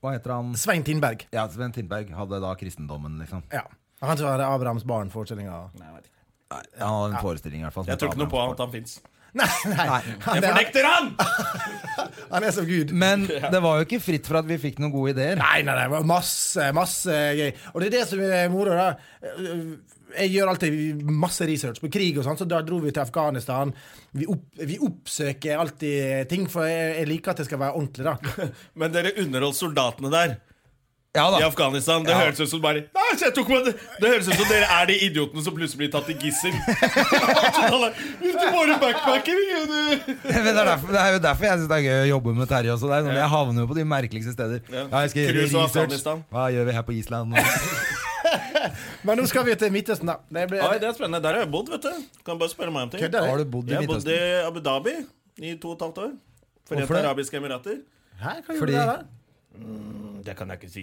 Hva heter han? Svein Tindberg. Ja, Sven Tindberg hadde da kristendommen, liksom. Ja. Han som har Abrahams barn-forestillinga. Nei, jeg vet ikke. Han hadde en forestilling, i hvert fall. som Jeg tror ikke het noe på Abrahams at han [laughs] fins. [laughs] Nei, nei. Jeg Han, er, fornekter han! han er som Gud. barn. [laughs] Men det var jo ikke fritt for at vi fikk noen gode ideer. Nei, nei, nei. det var Masse, masse gøy. Og det er det som er moro, da. Jeg gjør alltid masse research på krig og sånn, så da dro vi til Afghanistan. Vi, opp, vi oppsøker alltid ting, for jeg, jeg liker at det skal være ordentlig, da. [laughs] Men dere underholdt soldatene der Ja i da. Afghanistan. Det Ja. høres ut som bare Nei, så jeg tok meg det. det høres ut som dere er de idiotene som plutselig blir tatt i [laughs] gissel. Hvis du får en backpacker du. [laughs] Men det, er derfor, det er jo derfor jeg syns det er gøy å jobbe med Terje også. Det er sånn, Jeg havner jo på de merkeligste steder. Ja. Ja, jeg skal gjøre Cruise og research. Afghanistan. Hva gjør vi her på [laughs] Island? nå? Men nå skal vi til Midtøsten, da. Det ble, Oi, det er spennende. Der har jeg bodd, vet du. Kan bare spørre meg om ting. Kødder Har du? du bodd i Jeg bodde Midtøsten? i Abu Dhabi i to og et halvt år. Hvorfor Forente det? arabiske emirater. Hæ, hva gjorde Fordi- du der, da? Mm, Det kan jeg ikke si.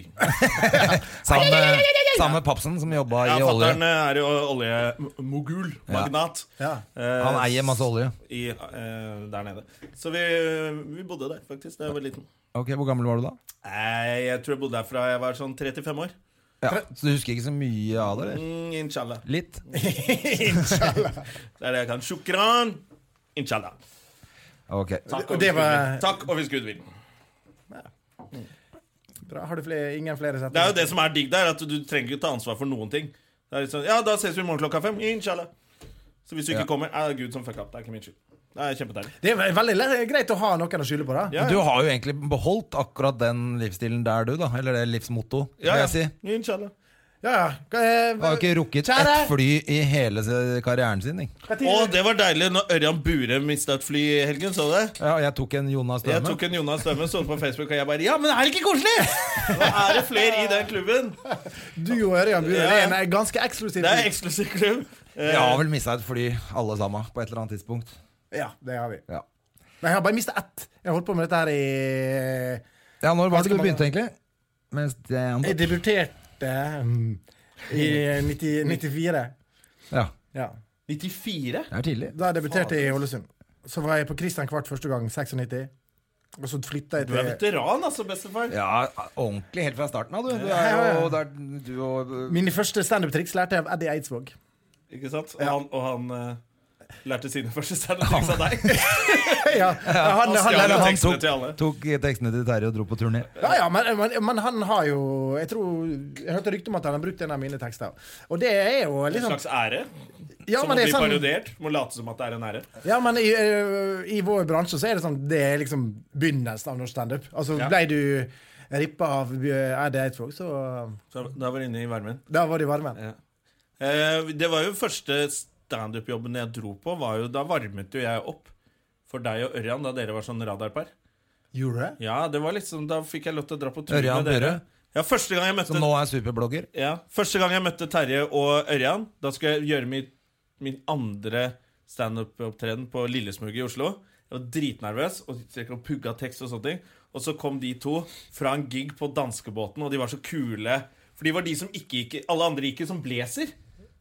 Sammen med, sammen med papsen som jobba Ja, i olje. Fatter'n eh, er jo oljemogul. Magnat. Ja. Eh, Han eier masse olje. I, eh, der nede. Så vi, vi bodde der, faktisk, da jeg var liten. Ok, Hvor gammel var du da? Nei, jeg tror jeg bodde der fra jeg var sånn 35 år. Ja. Så du husker ikke så mye av det? eller? Mm, inshallah. Litt? Det er det jeg kan. Shukran! Inshallah. Ok. Takk, Og og det hvis Gud var- vil. Takk, og hvis Gud vil. Bra. Har du flere, ingen flere Det er setninger? jo det som er digg der, at du trenger ikke ta ansvar for noen ting. Det er litt sånn, ja, da ses vi i morgen klokka fem. Inshallah. Så hvis du ikke Ja. kommer, er det Gud som fucker opp. Det er ikke min skyld. Det er kjempedeilig. Det er veldig le- greit å ha noen å skylde på, da. Ja, Du har jo egentlig beholdt akkurat den livsstilen der, du, da. Eller det livsmotto, vil ja, ja. jeg si. Inshallah. Ja, ja. Hva er- Du har jo ikke rukket Kjære! ett fly i hele se- karrieren sin. ikke? hva tid- Og det var deilig når Ørjan Bure mista et fly i helgen, så du det? Ja, jeg tok en Jonas Jeg Døhme. tok en Jonas Stømme, så på Facebook, og jeg bare Ja, men er det ikke koselig?! Nå er det flere i den klubben. Du og Ørjan Bure Ja. det er en eh, ganske eksklusiv Det er en eksklusiv klubb. Eh, Jeg har vel mista et fly, alle sammen, på et eller annet tidspunkt. Ja, det har vi. Ja, Men jeg har bare mista ett. Jeg har holdt på med dette her i ja Når var Ganske det du mange. begynte, egentlig? Mens det Jeg debuterte mm, i 90, 94. Ja, Ja. Eh, 94? det er tidlig. Da debuterte jeg i Ålesund. Så var jeg på Christian Kvart første gang, 96. Og så flytta jeg Du er til veteran, altså, bestefar. Ja, ordentlig helt fra starten av, du. Du er Ja, ja, jo ja. der, du og Mine første standup-triks lærte jeg av Eddie [laughs] Eidsvåg. Ikke sant? Og han, og han eh, lærte sine første standup-triks av [laughs] deg. ja, Han han, han, stjal Eller jo han tekstene tok- til alle. Tok tekstene til Terje og dro på turné. Ja, ja, men, men, men han har jo Jeg tror Jeg hørte rykte om at han har brukt en av mine tekster. Og det er jo En liksom slags ære. Ja, som men må det bli er sånn- parodiert. Må late som at det er en ære. Ja, men i, eh, i vår bransje så er det sånn Det er liksom begynnelsen av norsk standup. Altså, Ja. ble du rippa av eh, Eddie Eidsvåg, så Så da var jeg inne i varmen. Da var du i varmen. Ja. Eh, det var jo første standup-jobben jeg dro på. Var jo, da varmet jo jeg opp for deg og Ørjan da dere var sånn radarpar. Gjorde du det? Ja, det var liksom, Da fikk jeg lov til å dra på tur Ørjan med dere. Burre, Ja, første gang jeg møtte som nå er superblogger. Ja, Første gang jeg møtte Terje og Ørjan, da skulle jeg gjøre min, min andre standup-opptreden på Lillesmuget i Oslo. Jeg var dritnervøs og gikk og pugga tekst og sånne ting. Og så kom de to fra en gig på danskebåten, og de var så kule. For de var de som ikke gikk Alle andre gikk i sånn blazer.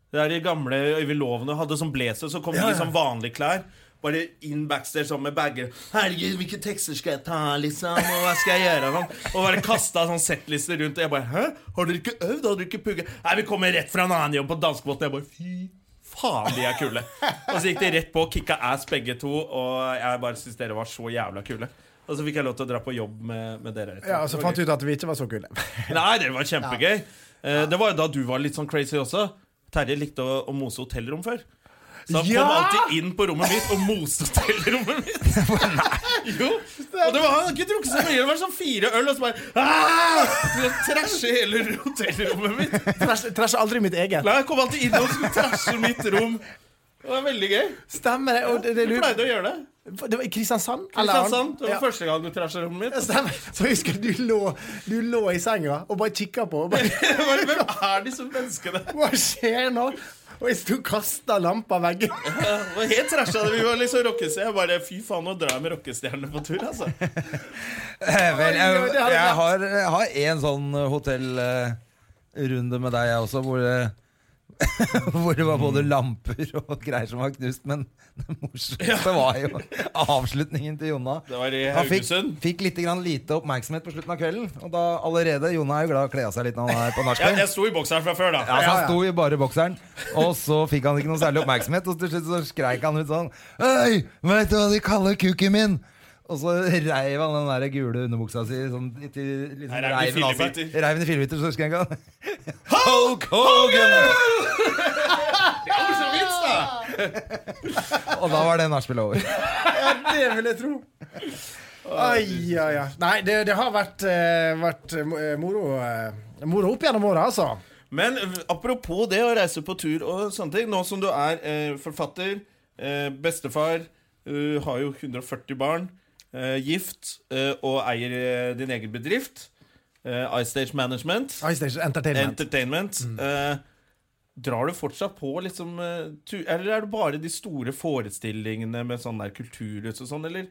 Det er de gamle Øyvind Lovene hadde sånn blazer, så kom de i sånn vanlige klær. Bare inn backstage sånn med bager. 'Herregud, hvilke tekster skal jeg ta, liksom? Og hva skal jeg gjøre?' Sånn. Og bare kasta sånn settlister rundt. Og jeg bare 'Hæ? Har dere ikke øvd? Har dere ikke pugga?' 'Nei, vi kommer rett fra en annen jobb på danskebåten.' Jeg bare 'Fy faen, de er kule'. Og så gikk de rett på og kicka ass begge to, og jeg bare syns dere var så jævla kule. Og så fikk jeg lov til å dra på jobb med, med dere. Ja, altså, og så fant du ut at vi ikke var så [laughs] kule. Nei, det var kjempegøy. Eh, Det var jo da du var litt sånn crazy også. Terje likte å, å mose hotellrom før. Så han Ja! kom alltid inn på rommet mitt og moste hotellrommet [laughs] mitt. jo, og det var Han hadde ikke drukket så mye. Det var sånn fire øl, og så bare «Ah!» Så Trashe hele hotellrommet mitt. Trash- Trasha aldri mitt eget. Nei, Han kom alltid inn og skulle trashe mitt rom. Det var veldig gøy. Stemmer det? Og det, det, Du pleide å gjøre det. det var i Kristiansand? eller annet? Kristiansand, det Ja. var første gang du trasha rommet mitt. Stemmer. Så jeg husker du lå, du lå i senga og bare kikka på. Og bare, [laughs] Jeg bare, Hvem er disse menneskene? Hva skjer nå? Og jeg sto og kasta lampa av veggen. Ja, det var helt trasha. Vi var liksom rockestjerner. Jeg bare Fy faen, nå drar jeg med rockestjernene på tur, altså. Eh, Vel, jeg, Oi, oi, det hadde jeg vært- har, jeg har en sånn hotellrunde med deg, jeg også, hvor det [laughs] hvor det var Mm. både lamper og greier som var knust. Men det morsomste var jo avslutningen til Jonna. Det var i Han fikk, Haugesund. fikk litt grann lite oppmerksomhet på slutten av kvelden. Og da allerede, Jonna er jo glad i å kle av seg litt når han er på Ja, nachspiel. jeg sto i bokseren fra før, da. Ja, så Ja, ja. Han sto i bare bokseren, og så fikk han ikke noe særlig oppmerksomhet. Og til slutt så skreik han ut sånn Øy, veit du hva de kaller kuken min? Og så reiv han den der gule underbuksa si sånn i- til liksom, Nei, reiv den i reiven av seg. fillebiter. Reiv den i fillebiter, så skrek han [laughs] Hulk Hogan! Morsom vits, da! Og da var det nachspielet over. [laughs] Ja, det vil jeg tro. Ai, ja, ja. Nei, det, det har vært, eh, vært eh, moro, eh, moro opp gjennom åra, altså. Men eh, apropos det å reise på tur og sånne ting. Nå som du er eh, forfatter, eh, bestefar, eh, har jo 140 barn, eh, gift eh, og eier eh, din egen bedrift, eh, iStage Management Ice Station Entertainment. Entertainment. Eh, drar du fortsatt på liksom eh, tu- Eller er det bare de store forestillingene med sånn der kulturhus og sånn, eller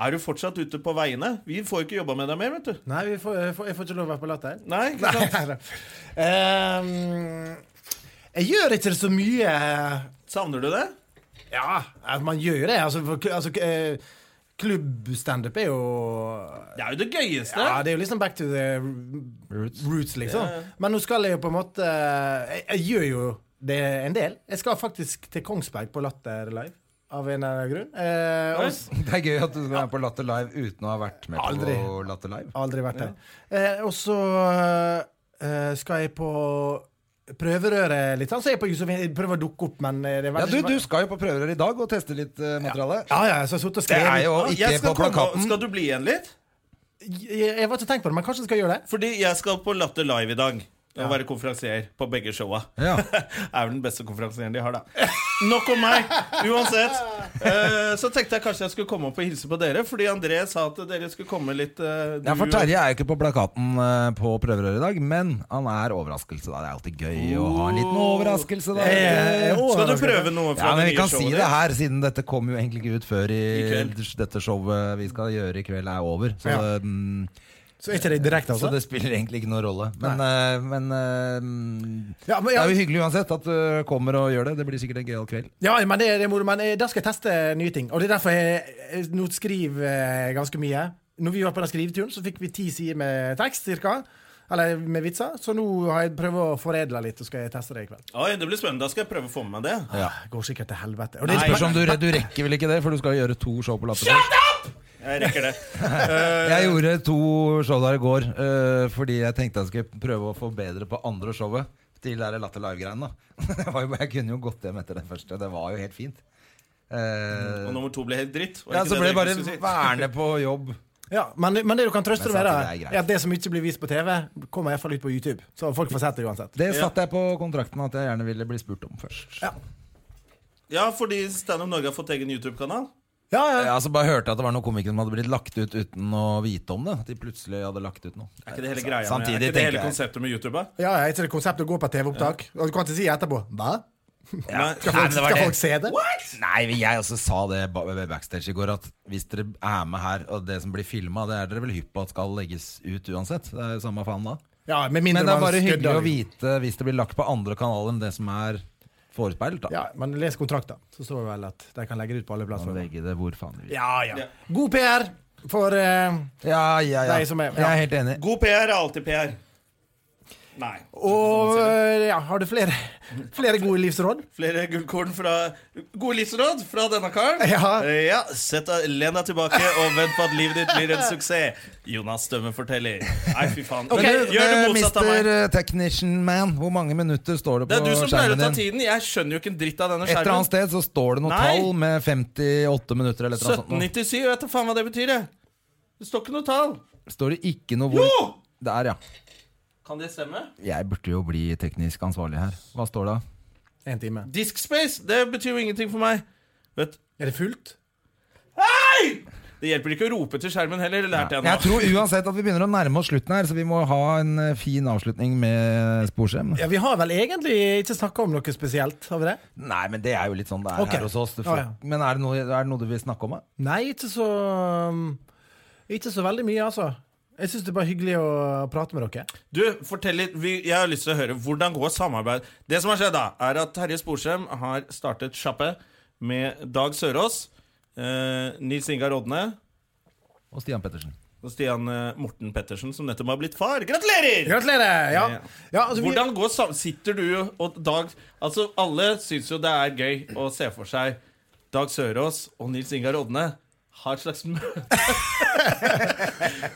er du fortsatt ute på veiene? Vi får jo ikke jobba med deg mer, vet du. Nei, vi får, jeg, får, jeg får ikke lov å være på latter. Nei, ikke sant? Nei, nei. Ehm, jeg gjør ikke så mye Savner du det? Ja, eh, man gjør jo det. Altså, for, kl- altså eh, klubbstandup er jo Det er jo det gøyeste. ja, Det er jo liksom back to the Roots. roots, liksom. Ja, ja. Men nå skal jeg jo på en måte Jeg, jeg gjør jo det en del. Jeg skal faktisk til Kongsberg på Latter Live. Av en eller annen grunn. Eh, og s- Det er gøy at du skal være på Latter Live uten å ha vært med Aldri. på Latter Live. aldri vært der. Eh, og så eh, skal jeg på prøverøret litt. sånn, Så er jeg på Josefin. Jeg prøver å dukke opp, men eh, det Ja, er veldig- du, du skal jo på prøverør i dag og teste litt eh, materiale. Ja, ja, så jeg har sittet og Det skrevet. er jo Ja, Ah, jeg ikke på skal komme- plakaten. Skal du bli igjen litt? Jeg, jeg var ikke tenkt på det, men kanskje jeg skal gjøre det. Fordi jeg skal på Latter Live i dag. Og være konferansier på begge showa. [laughs] Ja. er vel den beste konferansieren de har, da. Nok om meg! Uansett. Eh, så tenkte jeg kanskje jeg skulle komme opp og hilse på dere, fordi André sa at dere skulle komme litt eh, du Ja, for og- Terje er jo ikke på plakaten eh, på prøverøret i dag, men han er overraskelse. da Det er alltid gøy å ha en liten overraskelse. da Eh, Ja, Skal du prøve noe fra men det Vi nye kan showet si ditt? det her, siden dette kom jo egentlig ikke ut før i, I kveld. dette showet vi skal gjøre i kveld, er over. Så, Ja. det, mm, Så er ikke det direkte, så altså? det spiller egentlig ikke noen rolle. Men, eh, men, eh, mm, Ja, men, det ja, er jo hyggelig uansett at du kommer og gjør det. Det blir sikkert en gøyal kveld. ja, men det, det er moro. Men eh, da skal jeg teste nye ting. Og det er derfor jeg, jeg nå skriver eh, ganske mye. Når vi var på den skriveturen, så fikk vi ti sider med tekst, cirka. Eller med vitser. Så nå har jeg prøvd å foredle litt, og skal jeg teste det i kveld. Oi, det blir spennende. Da skal jeg prøve å få med meg det. Ah, Går sikkert til helvete. Og Det det, spørs om du, du rekker vel ikke det, for du skal gjøre to show på Latter. Jeg rekker det. [laughs] Jeg gjorde to show der i går eh, fordi jeg tenkte jeg skulle prøve å forbedre på andre showet. til de der Latter Live-greiene. da. [laughs] Det var jo, jeg kunne jo gått hjem etter det første. Det var jo helt fint. Eh, Og nummer to ble helt dritt. var ja, ikke så det ble dere jeg bare skulle si? værende på jobb. Ja, men, men det du kan trøste Men deg med, sant, da, det er greit. er at det som ikke blir vist på TV, kommer iallfall ut på YouTube. Så folk får sett det uansett. Det satte jeg på kontrakten at jeg gjerne ville bli spurt om først. Ja. Ja, fordi Standup Norge har fått egen YouTube-kanal. Ja, ja. Jeg altså bare hørte at det var noen komikere som hadde blitt lagt ut uten å vite om det. At de plutselig hadde lagt ut noe. Er ikke det hele greia? med- Samtidig er ikke det tenker hele jeg- konseptet med YouTube? da? ja, ja ikke det konseptet å gå på TV-opptak. Og du kan ikke si etterpå Hva? Nei, Skal Nei, men det folk, var skal det. folk se det? Nei, men jeg også sa det ba- ved backstage i går, at hvis dere er med her, og det som blir filma, det er dere vel hypp på at skal legges ut uansett? Det er jo samme faen da. Ja, med mindre Men det er man bare skudder hyggelig å det. vite hvis det blir lagt på andre kanaler enn det som er forespeilt, da. Ja, men les kontrakten, så står det vel at de kan legge det ut på alle Og plattformer. legge det hvor faen de vil. Ja, ja. God PR for eh, Ja, ja, ja. Nei, som er- Jeg er helt enig. God PR er alltid PR. Nei. Og eh, ja, har du flere, flere gode livsråd? Flere gullkorn fra Gode livsråd fra denne karen. Ja. Eh, ja. Sett deg, len deg tilbake og vent på at livet ditt blir en suksess. Jonas Stømme forteller. Nei, fy faen. Ok, Men Du, gjør det eh, motsatt av meg. Mr. Technician Man, hvor mange minutter står det Det på er du som pleier å skjermen ta din? tiden. Jeg skjønner jo ikke en dritt av denne Et eller annet skjermen. sted så står det noe Nei. tall med 58 minutter eller et eller annet sånt. 1797, jeg vet da faen hva det betyr, jeg. Det står ikke noe tall. Står det ikke noe hvor Jo! Der, ja. Kan det stemme? Jeg burde jo bli teknisk ansvarlig her. Hva står det? da? En time. Diskspace, det betyr jo ingenting for meg. Vet Er det fullt? Det hjelper ikke å rope til skjermen heller, lærte jeg nå. Jeg tror uansett at vi begynner å nærme oss slutten her, så vi må ha en eh, fin avslutning med sporskjerm. Ja, Vi har vel egentlig ikke snakka om noe spesielt, har vi det? Nei, men det er jo litt sånn det er Ok. her hos oss. Det Ja, ja. Men er det, noe, er det noe du vil snakke om? da? Nei, ikke så mm, Ikke så veldig mye, altså. Jeg syns det er bare hyggelig å prate med dere. Du, fortell litt, vi, jeg har lyst til å høre Hvordan går samarbeid? Det som har skjedd da, er at Terje Sporsem har startet sjappe med Dag Sørås, eh, Nils Ingar Odne Og Stian Pettersen. og Stian eh, Morten Pettersen, som nettopp har blitt far. Gratulerer! Gratulerer! Ja. ja altså, vi, Hvordan går sam... Sitter du og Dag Altså, alle syns jo det er gøy å se for seg Dag Sørås og Nils Ingar Odne har et slags [laughs] møte.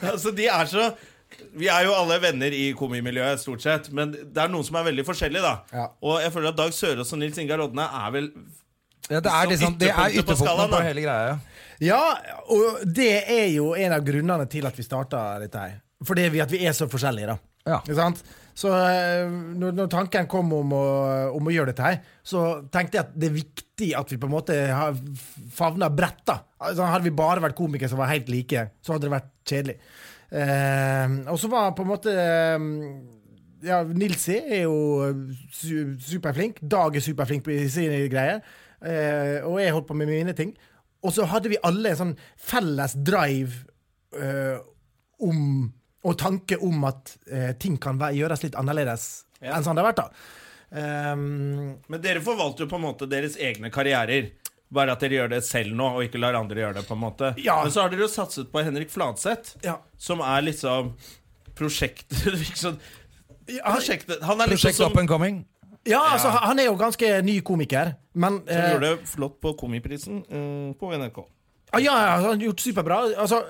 altså, de er så Vi er jo alle venner i komimiljøet, stort sett, men det er noen som er veldig forskjellige, da. Ja. Og jeg føler at Dag Sørås og Nils Ingar Odne er vel Ja, det Så er liksom, det er ytterpunktet på skalaen, ytterpunktene på da. hele greia. ja. ja, og det er jo en av grunnene til at vi starta dette her. Fordi vi, at vi er så forskjellige, da. Ja. Ikke sant? Så eh, når, når tanken kom om å, om å gjøre dette her, så tenkte jeg at det er viktig at vi på en måte har favna bredt. da. Altså, hadde vi bare vært komikere som var helt like, så hadde det vært kjedelig. Eh, og så var på en måte eh, ja, Nilsi er jo su superflink. Dag er superflink på sine greier. Eh, og jeg holdt på med mine ting. Og så hadde vi alle en sånn felles drive eh, om og tanke om at eh, ting kan væ- gjøres litt annerledes Ja. enn sånn det har vært. da. Ehm, Men dere forvalter jo på en måte deres egne karrierer. Bare at dere gjør det selv nå, og ikke lar andre gjøre det. på en måte Ja. Men så har dere jo satset på Henrik Fladseth, ja. som er liksom prosjektet [laughs] liksom, Ja, Prosjektet Han er liksom Prosjekt som Up and Coming. ja, altså, han- han er jo ganske ny komiker, men som eh, gjorde det flott på Komiprisen mm, på NRK. Ah, Ja, ja, ja, han har gjort superbra. Altså,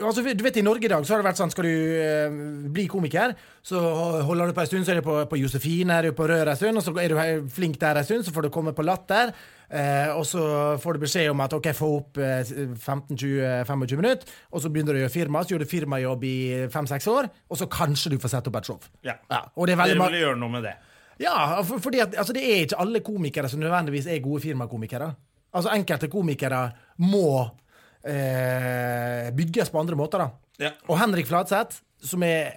altså, du vet, I Norge i dag så har det vært sånn Skal du eh, bli komiker, så holder du på en stund, så er du på, på Josefine, er du på Rør en stund, og så er du he- flink der en stund, så får du komme på Latter. Eh, og så får du beskjed om at OK, få opp eh, 15-20-25 minutter. Og så begynner du å gjøre firma, så gjør du firmajobb i fem-seks år, og så kanskje du får sette opp et show. Ja. Ja, og det er veldig Dere mange ville gjøre noe med det. ja, for, fordi at, altså, det er ikke alle komikere som nødvendigvis er gode firmakomikere. Altså Enkelte komikere må eh, bygges på andre måter. da. Ja. Og Henrik Fladseth, som er eh,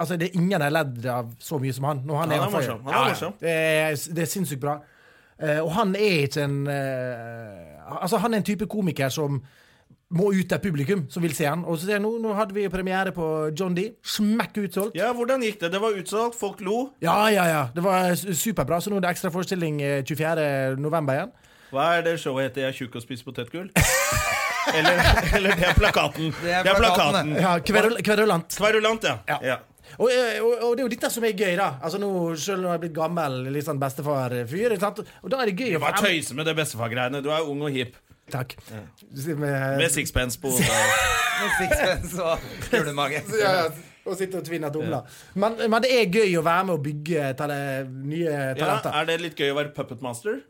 Altså, det er ingen jeg har ledd av så mye som han. Når han, Han er er on fire. morsom. Han er Ja, ja. morsom. Det er, det er sinnssykt bra. Eh, og han er ikke en eh, Altså, han er en type komiker som må ut til et publikum som vil se han. Og så ser jeg nå, nå hadde vi jo premiere på John D. Smekk utsolgt. ja, hvordan gikk det? Det var utsolgt, folk lo. Ja, ja, ja. Det var su- superbra. Så nå er det ekstra forestilling eh, 24. november igjen. Hva er det showet heter? Jeg er tjukk og spiser potetgull? eller, eller det er plakaten. Det er er plakaten. plakaten, Ja, kverul- Kverulant. Kverulant, ja. Ja. ja. Og, eh, og, og det er jo dette som er gøy, da. Altså nå, Selv om jeg er blitt gammel litt sånn bestefar-fyr. ikke sant? Og da er det gøy å Bare tøyse med det bestefar-greiene. Du er ung og hip. Takk. Med, Eh, Med sixpence på Med sixpence og kulemage. ja, ja. og sitter og tvinner tomler. Men, men det er gøy å være med og bygge tale, nye Ja, talenter. er det litt gøy å være puppet master?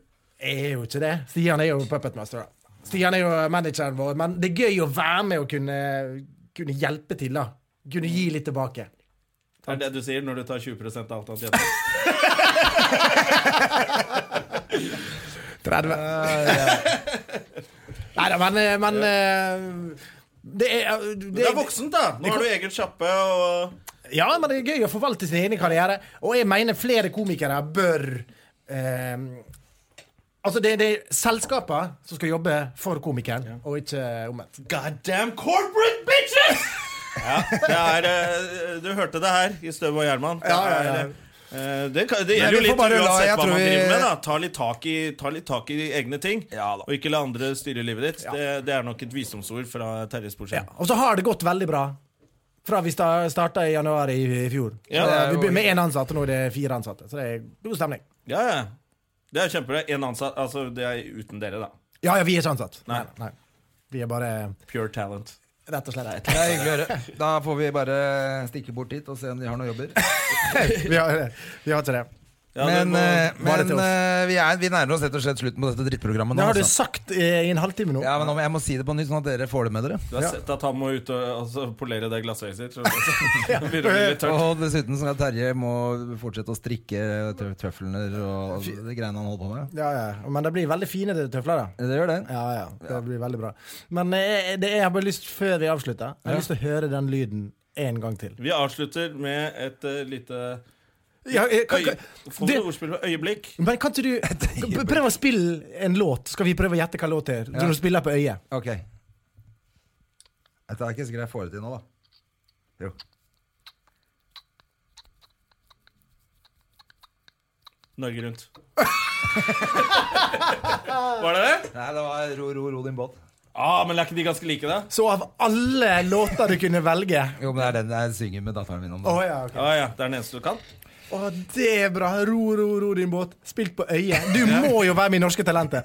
er jo ikke det. Stian er jo puppetmaster. da. Stian er jo manageren vår, men det er gøy å være med og kunne, kunne hjelpe til. da. Kunne gi litt tilbake. Er det det du sier når du tar 20 av alt annet igjen? [laughs] 30. Nei da, men, men eh, det er, Du det er voksen, da! Nå har du egen sjappe og Ja, men det er gøy å forvalte sin egen karriere. Og jeg mener flere komikere bør eh, Altså, det, det er selskapene som skal jobbe for komikeren, og ikke omvendt. Goddamn corporate bitches! Ja, det er eh, Du hørte det her i Støv og Gjerman. Det Ja, ja, ja. er, eh, Det, kan- det Men vi gjelder jo får litt bare la- uansett jeg hva tror man vi- driver med. da Ta litt tak i, ta litt tak i egne ting, Ja da. og ikke la andre styre livet ditt. Det, det er nok et visdomsord fra Terje Sporsem. Ja. Og så har det gått veldig bra. Fra vi starta i januar i i fjor. Så Ja, det, det er vi jo- begynner med én ansatt, og nå er det fire ansatte. Så det er god stemning. Ja, ja. Det er kjempebra. En ansatt Altså, det er uten dere, da. Ja, ja, vi er ikke ansatt. Nei. Nei. Vi er bare Pure talent. Rett og slett. Det er hyggelig å høre. Da får vi bare stikke bort dit og se om de har noen jobber. vi, har, vi har ikke det. Ja, det men må- eh, Bare men til oss. eh, vi, er, vi nærmer oss rett og slett slutten på dette drittprogrammet nå. Det har du altså. sagt eh, i en halvtime nå. Ja, men nå må- Jeg må si det på nytt, sånn at dere får det med dere. Du har Ja. sett at han må ut og altså, polere det glassøyet sitt? tror du? Så det blir litt tørt. Og dessuten så er Terje må fortsette å strikke trø- trøflene og de greiene han holder på med. Ja, ja. Men det blir veldig fine tøfler, da. Det gjør det. Ja, ja. Det blir veldig bra. Men eh, det, jeg har bare lyst, før vi avslutter, jeg har lyst til å høre den lyden en gang til. Vi avslutter med et eh, lite Ja, eh, kan- øy, kan- Får vi det- ordspill med øyeblikk? Men kan [laughs] ikke du prøve å spille en låt? Skal vi prøve å gjette hva låt det er? Ja. Når du spiller på øyet. Ok. Dette er ikke sikkert jeg får det til nå, da. Jo. Norge Rundt. [laughs] Var det det? Nei, det var ro, ro, ro din båt. Ah, men er ikke de ganske like, da? Så av alle låter du kunne velge Jo, men det er den jeg synger med datteren min om. [laughs] Å dagen. ja, ok. Ja, ja, Det er den eneste du kan? Å, det er bra. Ro, ro, ro din båt. Spilt på øyet. Du må jo være med i Norske Talenter.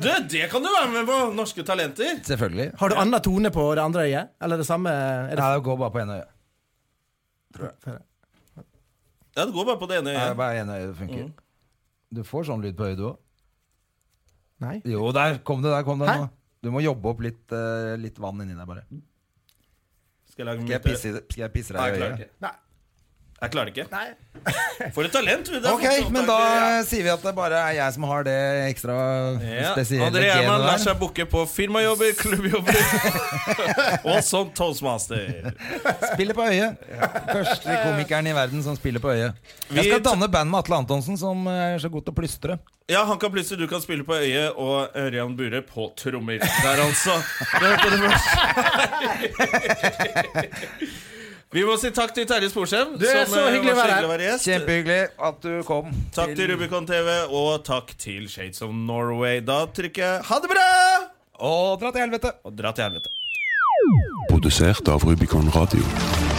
Du, Det kan du være med på! Norske talenter. Selvfølgelig. Har du annen tone på det andre øyet? Eller det samme? Er det Nei, det går bare på ene øye. Ja, Det går bare på det ene Nei, øyet. bare ene øye funker. Du får sånn lyd på øyet, du òg. Nei? Jo, der kom det. der kom det Hæ? nå. Du må jobbe opp litt, eh, litt vann inni deg, bare. Skal jeg lage Skal jeg mye- pisse, i det- skal jeg pisse Nei, deg jeg i klarer øyet? ikke. Nei. Jeg klarer ikke. Nei. For et talent! du. Det er Ok, fortsatt- men da eh, sier vi at det bare er jeg som har det ekstra Ja. spesielle André Gjerman lar genet [laughs] der. seg booke på firmajobber, [laughs] klubbjobber [laughs] og som toastmaster. Spiller på øyet. Første komikeren i verden som spiller på øyet. Vi Jeg skal t- danne band med Atle Antonsen, som eh, er så god til å plystre. Ja, han kan plutselig, du kan spille på øyet og eh, Ørjan Bure på trommer. Der, altså. [laughs] Du hørte det først. Vi må si takk til Terje Sporsem. Det er som, så eh, hyggelig å var være så her. hyggelig å være gjest. Kjempehyggelig at du kom. Takk til Rubicon TV, og takk til Shades of Norway. Da trykker jeg ha det bra! Og dra til helvete! Og dra til helvete. Produsert av Rubicon Radio.